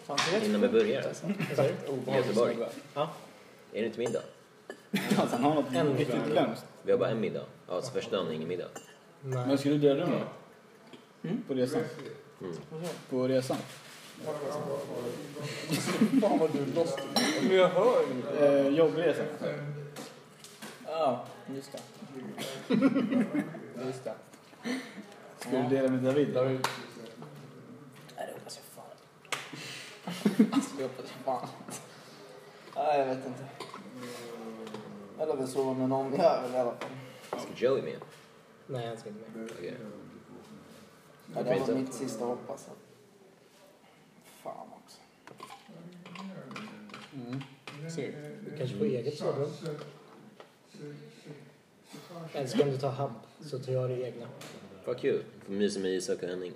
[SPEAKER 7] Fan, det är
[SPEAKER 1] hinna med burgare?
[SPEAKER 4] Vad sa du?
[SPEAKER 1] I Göteborg?
[SPEAKER 4] Ja.
[SPEAKER 1] Är det inte middag?
[SPEAKER 3] Alltså, han har något riktigt glömskt.
[SPEAKER 1] Vi har bara en middag. Ja, så första dagen är ingen middag.
[SPEAKER 4] Nej.
[SPEAKER 3] Men ska du dela den då? På resan? På resan? Fan vad du lost.
[SPEAKER 7] Men jag hör ju.
[SPEAKER 3] Eh, jobbresa.
[SPEAKER 7] Ja, just det. Just det.
[SPEAKER 3] Ska du dela med David? David.
[SPEAKER 7] Nej, det hoppas jag fan. Alltså, det hoppas jag fan. Nej, jag vet inte. Eller väl sova med någon jävel i alla fall.
[SPEAKER 1] Ska Joey med?
[SPEAKER 4] Nej, han ska inte med.
[SPEAKER 1] Okej.
[SPEAKER 7] Ja, det var mitt sista hopp alltså. Fan också.
[SPEAKER 4] Segt. Du kanske får eget sovrum. Eller så kan du ta hamp, så tar jag det egna.
[SPEAKER 1] Vad kul. Får mysa med Isak och Henning.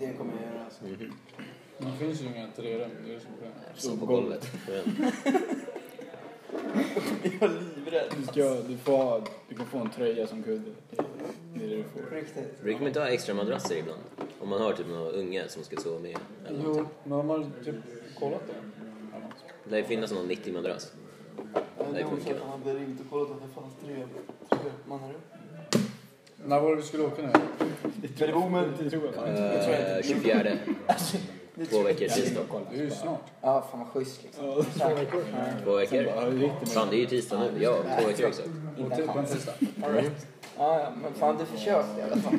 [SPEAKER 7] Det kommer jag göra alltså.
[SPEAKER 3] Mm-hmm. Det finns ju inga tre rum. Det är som på den.
[SPEAKER 1] Som på golvet.
[SPEAKER 7] Jag är livrädd.
[SPEAKER 3] Du, ska, du, får, ha- du kan få en tröja som kudde. Det, det är det du får.
[SPEAKER 7] Riktigt.
[SPEAKER 1] Brukar man inte ha extra madrasser ibland? Om man har typ någon unge som ska sova med. Eller något.
[SPEAKER 3] men de har typ kollat det.
[SPEAKER 1] Det lär ju finnas någon 90-madrass.
[SPEAKER 7] Jag
[SPEAKER 1] Det
[SPEAKER 7] hade
[SPEAKER 1] funkar.
[SPEAKER 7] att han hade ringt och kollat om det fanns tre tre mannarum.
[SPEAKER 3] När var det vi skulle åka nu?
[SPEAKER 7] Men det var omöjligt.
[SPEAKER 3] Det tror jag fan.
[SPEAKER 1] Eh, 24,
[SPEAKER 7] Det
[SPEAKER 1] två
[SPEAKER 7] tror jag.
[SPEAKER 1] veckor tisdag.
[SPEAKER 3] Det är ju snart.
[SPEAKER 7] Ja, fan vad schysst liksom.
[SPEAKER 4] Två veckor.
[SPEAKER 1] Två
[SPEAKER 3] Sen bara,
[SPEAKER 1] veckor.
[SPEAKER 3] ja, det är riktigt
[SPEAKER 1] Fan, det är ju tisdag nu. Ja, två veckor exakt.
[SPEAKER 7] Inte en chans.
[SPEAKER 3] tisdag.
[SPEAKER 7] All right. Ah, Ja, ja, men fan du försökte i alla fall.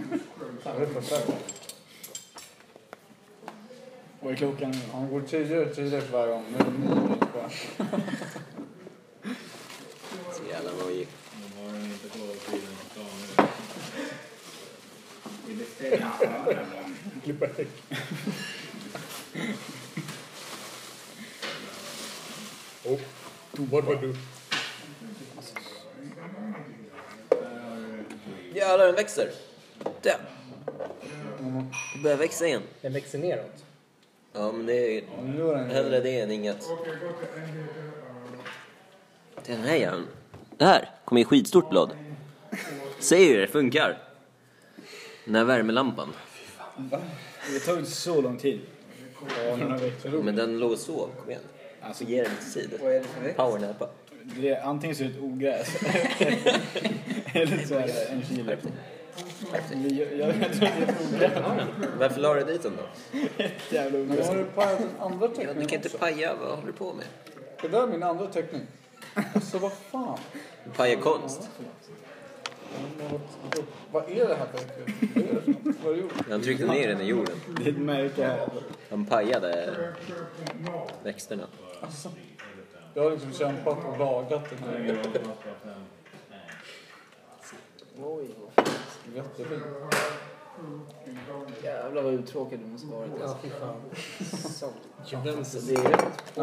[SPEAKER 3] Vad är klockan nu?
[SPEAKER 8] Han går tio tider för varje gång. Nu är det nio minuter kvar.
[SPEAKER 1] Så jävla nojig.
[SPEAKER 6] De har den inte kollat på tiden på dagen. Vi beställer.
[SPEAKER 1] Jävlar, den växer! Den! Den börjar växa igen.
[SPEAKER 4] Den växer neråt.
[SPEAKER 1] Ja, men det är
[SPEAKER 8] Nu är den...
[SPEAKER 1] hellre det än inget. Den här jäveln. Det här kommer i skitstort blad. Säger ju det, det funkar. Den här värmelampan.
[SPEAKER 3] Det tar ju så lång tid. Ja, några veckor.
[SPEAKER 1] Men den låg och sov, kom igen. Alltså ge den lite tid.
[SPEAKER 7] Vad är det för växt?
[SPEAKER 1] Powernappa.
[SPEAKER 3] Det är, antingen så är det ett ogräs. eller så är det en kilo. Men Jag, jag vet inte.
[SPEAKER 1] Varför la du dit den då?
[SPEAKER 3] Jävla
[SPEAKER 8] Nu har
[SPEAKER 3] ogräs.
[SPEAKER 8] du pajat den andra
[SPEAKER 1] Ja, du
[SPEAKER 8] teckningen
[SPEAKER 1] kan inte
[SPEAKER 8] också.
[SPEAKER 1] paja, vad håller du på med?
[SPEAKER 8] Det där är min andra teckning. Alltså vad fan.
[SPEAKER 1] Paja konst.
[SPEAKER 8] Vad är det här för teckning? Vad är det för något? Vad har du gjort?
[SPEAKER 1] Han tryckte ner den i jorden.
[SPEAKER 3] Det är ett märke här.
[SPEAKER 1] Han pajade växterna.
[SPEAKER 8] Alltså. Jag har liksom kämpat och lagat den här.
[SPEAKER 7] Oj,
[SPEAKER 8] Jättefint.
[SPEAKER 7] jävlar vad uttråkad du måste ha varit.
[SPEAKER 4] Ja,
[SPEAKER 7] Alltså.
[SPEAKER 4] fy fan.
[SPEAKER 7] Alltså, det är rätt.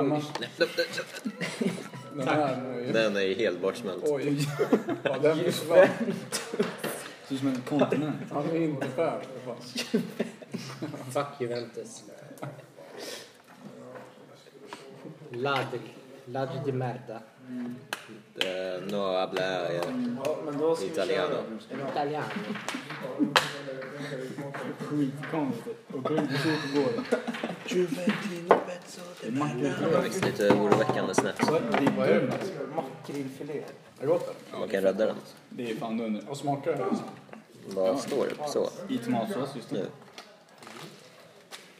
[SPEAKER 8] Nej, men, den här är ju...
[SPEAKER 1] Den är ju helt bortsmält.
[SPEAKER 8] Oj. Ja, den försvann.
[SPEAKER 3] Ser ut som en kontinent.
[SPEAKER 8] Han är inte färdig.
[SPEAKER 4] Fuck Juventus. Ladri. Ladri di merda.
[SPEAKER 1] Eh, No habla eh,
[SPEAKER 7] Ja, men då ska vi köra.
[SPEAKER 1] italiano.
[SPEAKER 4] Italiano.
[SPEAKER 3] Skitkonstigt. Och på ut på gården.
[SPEAKER 7] Juventino,
[SPEAKER 1] Det var faktiskt lite oroväckande snett.
[SPEAKER 3] Vad är det Mats?
[SPEAKER 7] Makrillfilé.
[SPEAKER 3] Är det gott eller?
[SPEAKER 1] Man kan rädda den.
[SPEAKER 3] Det är fan dunder. Och smakar det?
[SPEAKER 1] Vad står det på så
[SPEAKER 3] I tomatsås just nu.
[SPEAKER 1] nu?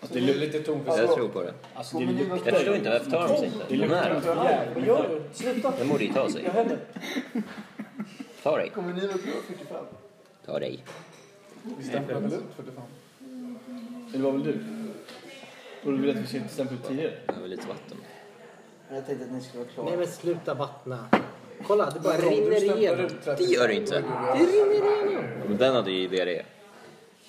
[SPEAKER 3] Alltså, det luktar lite
[SPEAKER 1] Jag
[SPEAKER 3] tonfisk.
[SPEAKER 1] tror på det.
[SPEAKER 3] Alltså, det luktar
[SPEAKER 1] Jag förstår inte, varför tar de sig inte? De
[SPEAKER 3] Det luktar något
[SPEAKER 1] här,
[SPEAKER 3] jävligt.
[SPEAKER 7] Vad gör du? Sluta!
[SPEAKER 1] den borde ju ta sig. Ta dig.
[SPEAKER 7] Kommer ni upp till 45?
[SPEAKER 1] Ta dig.
[SPEAKER 3] Vi stämplade väl ut 45? Eller var väl du? Och du ville att vi skulle stämpla ut tidigare?
[SPEAKER 1] Jag behöver lite vatten.
[SPEAKER 7] Jag tänkte att ni skulle vara
[SPEAKER 4] Nej
[SPEAKER 7] klara.
[SPEAKER 4] men sluta vattna. Kolla, det bara rinner igenom.
[SPEAKER 1] Det gör det inte.
[SPEAKER 4] Det rinner igenom.
[SPEAKER 1] Men den hade ju diarré.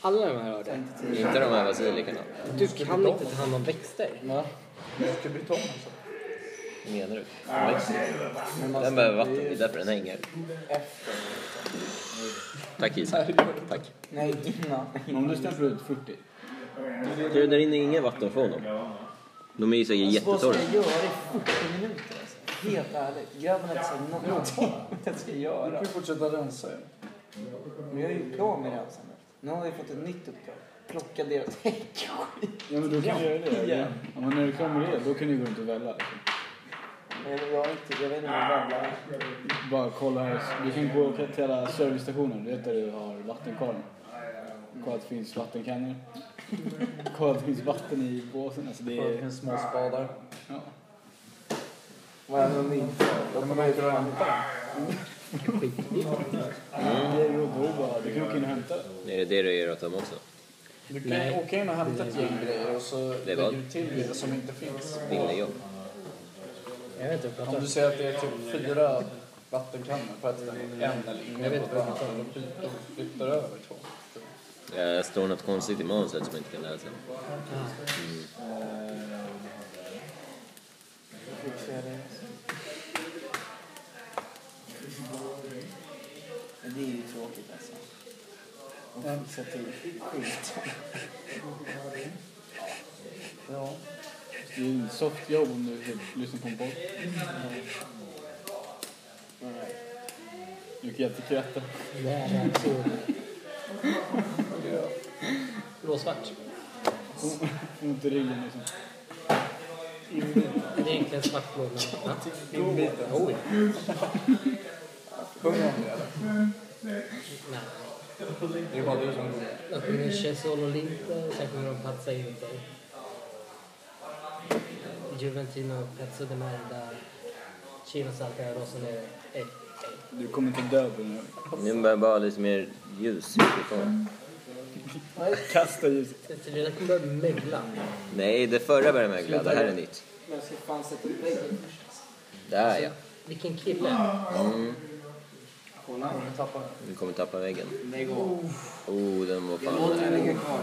[SPEAKER 4] Alla de här har det.
[SPEAKER 7] Tänkte till.
[SPEAKER 1] Inte de här basilikorna.
[SPEAKER 4] Du kan inte ta hand om växter.
[SPEAKER 1] Vad menar du? Den växer. Den behöver vatten, det är därför den hänger. Tack Isak. Tack.
[SPEAKER 7] Nej, innan.
[SPEAKER 3] Men om du stämplar ut 40?
[SPEAKER 1] Du, där inne är inget vatten för honom. De är ju säkert
[SPEAKER 7] Vad
[SPEAKER 8] Alltså,
[SPEAKER 7] ska
[SPEAKER 1] jättetorra.
[SPEAKER 7] jag göra i 40 minuter? Alltså? Helt ärligt. Grabben har inte sagt någonting vad jag ska göra.
[SPEAKER 3] fortsätta rensa ju.
[SPEAKER 7] Men jag är ju klar med rensandet. Nu har jag fått ett nytt uppdrag. Plocka deras häckskit.
[SPEAKER 3] Ja men då kan du göra det. eller? Ja, men när du kommer med det, då kan du gå runt och välla. liksom.
[SPEAKER 7] Men jag, har inte, jag vet inte vad jag är.
[SPEAKER 3] Bara kolla här. Du kan gå till hela servicestationen. Du vet där du har vattenkorn. Kolla att det finns vattenkannor. Kolla att det finns vatten i båsen. Alltså det är...
[SPEAKER 7] små spadar.
[SPEAKER 3] Ja.
[SPEAKER 7] Vad är det med min? Då kommer jag ut och hämtar
[SPEAKER 3] Det är ju då är det bara... Du kan åka in och hämta det.
[SPEAKER 1] Är det det du gör åt dem också?
[SPEAKER 8] Du kan ju åka in och hämta ett gäng grejer och så lägger
[SPEAKER 1] vad?
[SPEAKER 8] du till grejer som inte finns.
[SPEAKER 1] Vinnejobb?
[SPEAKER 4] Jag vet inte
[SPEAKER 8] Om
[SPEAKER 4] vad jag pratar
[SPEAKER 8] du
[SPEAKER 4] om.
[SPEAKER 8] säger att det är typ fyra vattenkannor på ett ställe, en eller ingen på ett annat, då byter- då flyttar du över två.
[SPEAKER 1] Jag står något konstigt i manuset som jag inte kan läsa.
[SPEAKER 7] fixar jag det. Men det är ju tråkigt alltså. De fixar till skit. Ja.
[SPEAKER 3] Det är en soft jobb om du typ lyssnar på en podd. Du kan jättekratta.
[SPEAKER 4] Det är så. Blåsvart.
[SPEAKER 3] Får ont i ryggen liksom.
[SPEAKER 4] Det är egentligen svartblå. men- Ja.
[SPEAKER 8] Inbiten.
[SPEAKER 4] Oj.
[SPEAKER 8] Sjung om det eller?
[SPEAKER 4] Nej.
[SPEAKER 8] Det är bara du som sjunger.
[SPEAKER 4] De sjunger Chesolo Linte, sen sjunger de Patsa Inter. Juventino, Pezzo de Merda, Chino Saltera Rossonere. Ey, ey.
[SPEAKER 3] Du kommer inte dö på den här.
[SPEAKER 1] Nu börjar jag bara ha lite mer ljus utifrån.
[SPEAKER 3] Kasta ljuset.
[SPEAKER 4] Så Det där kommer börja mögla.
[SPEAKER 1] Nej, det förra började mögla. Det här är nytt.
[SPEAKER 7] Men jag ska fan sätta upp väggen först.
[SPEAKER 1] Där ja.
[SPEAKER 4] Vilken kille.
[SPEAKER 1] Mm.
[SPEAKER 7] Kolla. Tappa.
[SPEAKER 1] Du kommer tappa väggen.
[SPEAKER 7] Lägg av.
[SPEAKER 1] Oh, den var
[SPEAKER 7] Låt den
[SPEAKER 1] fan
[SPEAKER 7] ligga kvar.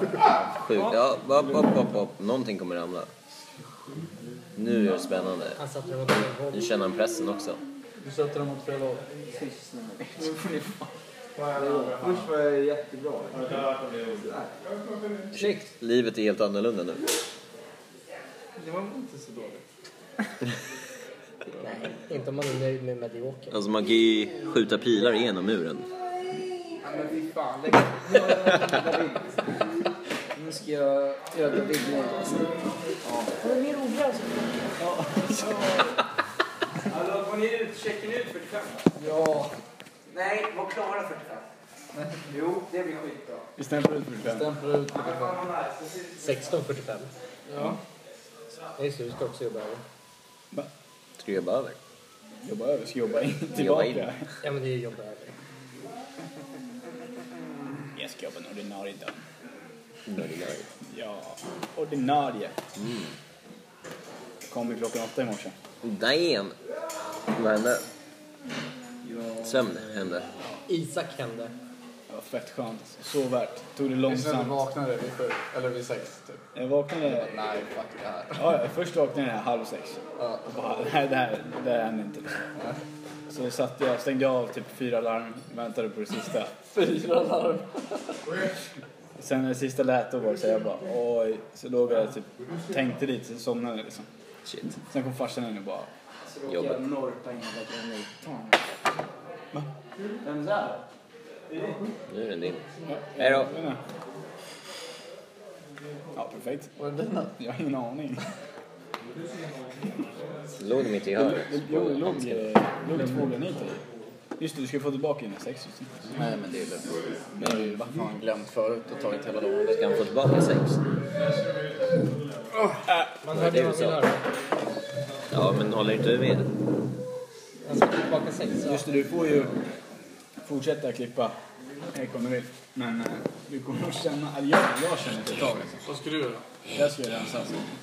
[SPEAKER 1] sjuk. Ja, hopp, hopp, hopp, hopp. Någonting kommer ramla. Nu är det spännande.
[SPEAKER 4] Han satte den åt fel
[SPEAKER 1] Nu
[SPEAKER 4] håll.
[SPEAKER 1] känner han pressen också.
[SPEAKER 8] Du sätter dem åt fel håll.
[SPEAKER 7] Tyst nu.
[SPEAKER 8] Först var jag jättebra.
[SPEAKER 4] Snyggt.
[SPEAKER 1] Livet är helt annorlunda nu.
[SPEAKER 8] Det var inte så dåligt.
[SPEAKER 4] Nej, inte om man är nöjd med medioker.
[SPEAKER 1] Alltså man kan ju skjuta pilar genom muren.
[SPEAKER 7] Men fy fan, lägg av. Nu ska jag göra det big
[SPEAKER 2] Hallå, går ni ut? Checken ut 45?
[SPEAKER 7] Ja. Nej, var klara 45. Jo, det blir skitbra.
[SPEAKER 3] Vi stämplar ut för det.
[SPEAKER 8] Stämplar ut.
[SPEAKER 4] 16.45.
[SPEAKER 8] Ja.
[SPEAKER 4] Ja, just det, du ska också jobba över.
[SPEAKER 1] Ska du jobba över?
[SPEAKER 3] Jobba över, ska jobba in.
[SPEAKER 1] Jobba
[SPEAKER 3] Tillbaka.
[SPEAKER 1] in.
[SPEAKER 4] Ja, men det är jobba över.
[SPEAKER 3] Jag ska jobba en ordinarie dag.
[SPEAKER 1] Nördig, nördig.
[SPEAKER 3] Ja, ordinarie. Kommer klockan åtta i morse.
[SPEAKER 1] Damn! Vad hände? Sömn hände.
[SPEAKER 4] Isak hände.
[SPEAKER 3] Det var fett skönt. alltså. Så värt. Tog det
[SPEAKER 8] Och sen
[SPEAKER 3] långsamt.
[SPEAKER 8] vaknade vid sju, eller vid sex typ.
[SPEAKER 3] Jag vaknade...
[SPEAKER 8] Nej, fuck det här.
[SPEAKER 3] Ja, ja, först vaknade jag halv sex.
[SPEAKER 8] Ja.
[SPEAKER 3] Och bara, nej det här, det här händer inte. Så satt jag, stängde av typ fyra larm, väntade på det sista.
[SPEAKER 8] Fyra larm.
[SPEAKER 3] Sen när det sista lät då var det så jag bara oj. Så låg jag typ, tänkte lite, så somnade jag liksom.
[SPEAKER 1] Shit.
[SPEAKER 3] Sen kom farsan in och bara,
[SPEAKER 1] Jobbet.
[SPEAKER 7] Norpa in hela grejen. Vem där?
[SPEAKER 1] Nu är den din.
[SPEAKER 3] ja,
[SPEAKER 1] Hej då.
[SPEAKER 3] jag menar. Ja, perfekt.
[SPEAKER 8] Var det dina?
[SPEAKER 3] Jag har ingen aning.
[SPEAKER 1] Låg mitt i hörnet.
[SPEAKER 3] Jo, det låg låg två granater i. Just det, du ska få tillbaka dina sex. just det.
[SPEAKER 7] Nej, men det är lugnt. Men jag har ju vad fan glömt förut och tagit hela lådan.
[SPEAKER 1] Ska han få tillbaka sex?
[SPEAKER 4] Man
[SPEAKER 1] Vad är
[SPEAKER 4] hörde vad
[SPEAKER 1] det du
[SPEAKER 4] man
[SPEAKER 1] sa?
[SPEAKER 4] ville höra.
[SPEAKER 1] Ja, men håller inte du med?
[SPEAKER 4] Han ska tillbaka sex. Ja.
[SPEAKER 3] Just det, du får ju fortsätta klippa. Det kommer vi. Men eh, du kommer nog känna, eller jag, jag känner det ett tag. alltså.
[SPEAKER 9] Vad ska du göra?
[SPEAKER 3] Det här ska jag rensa. alltså.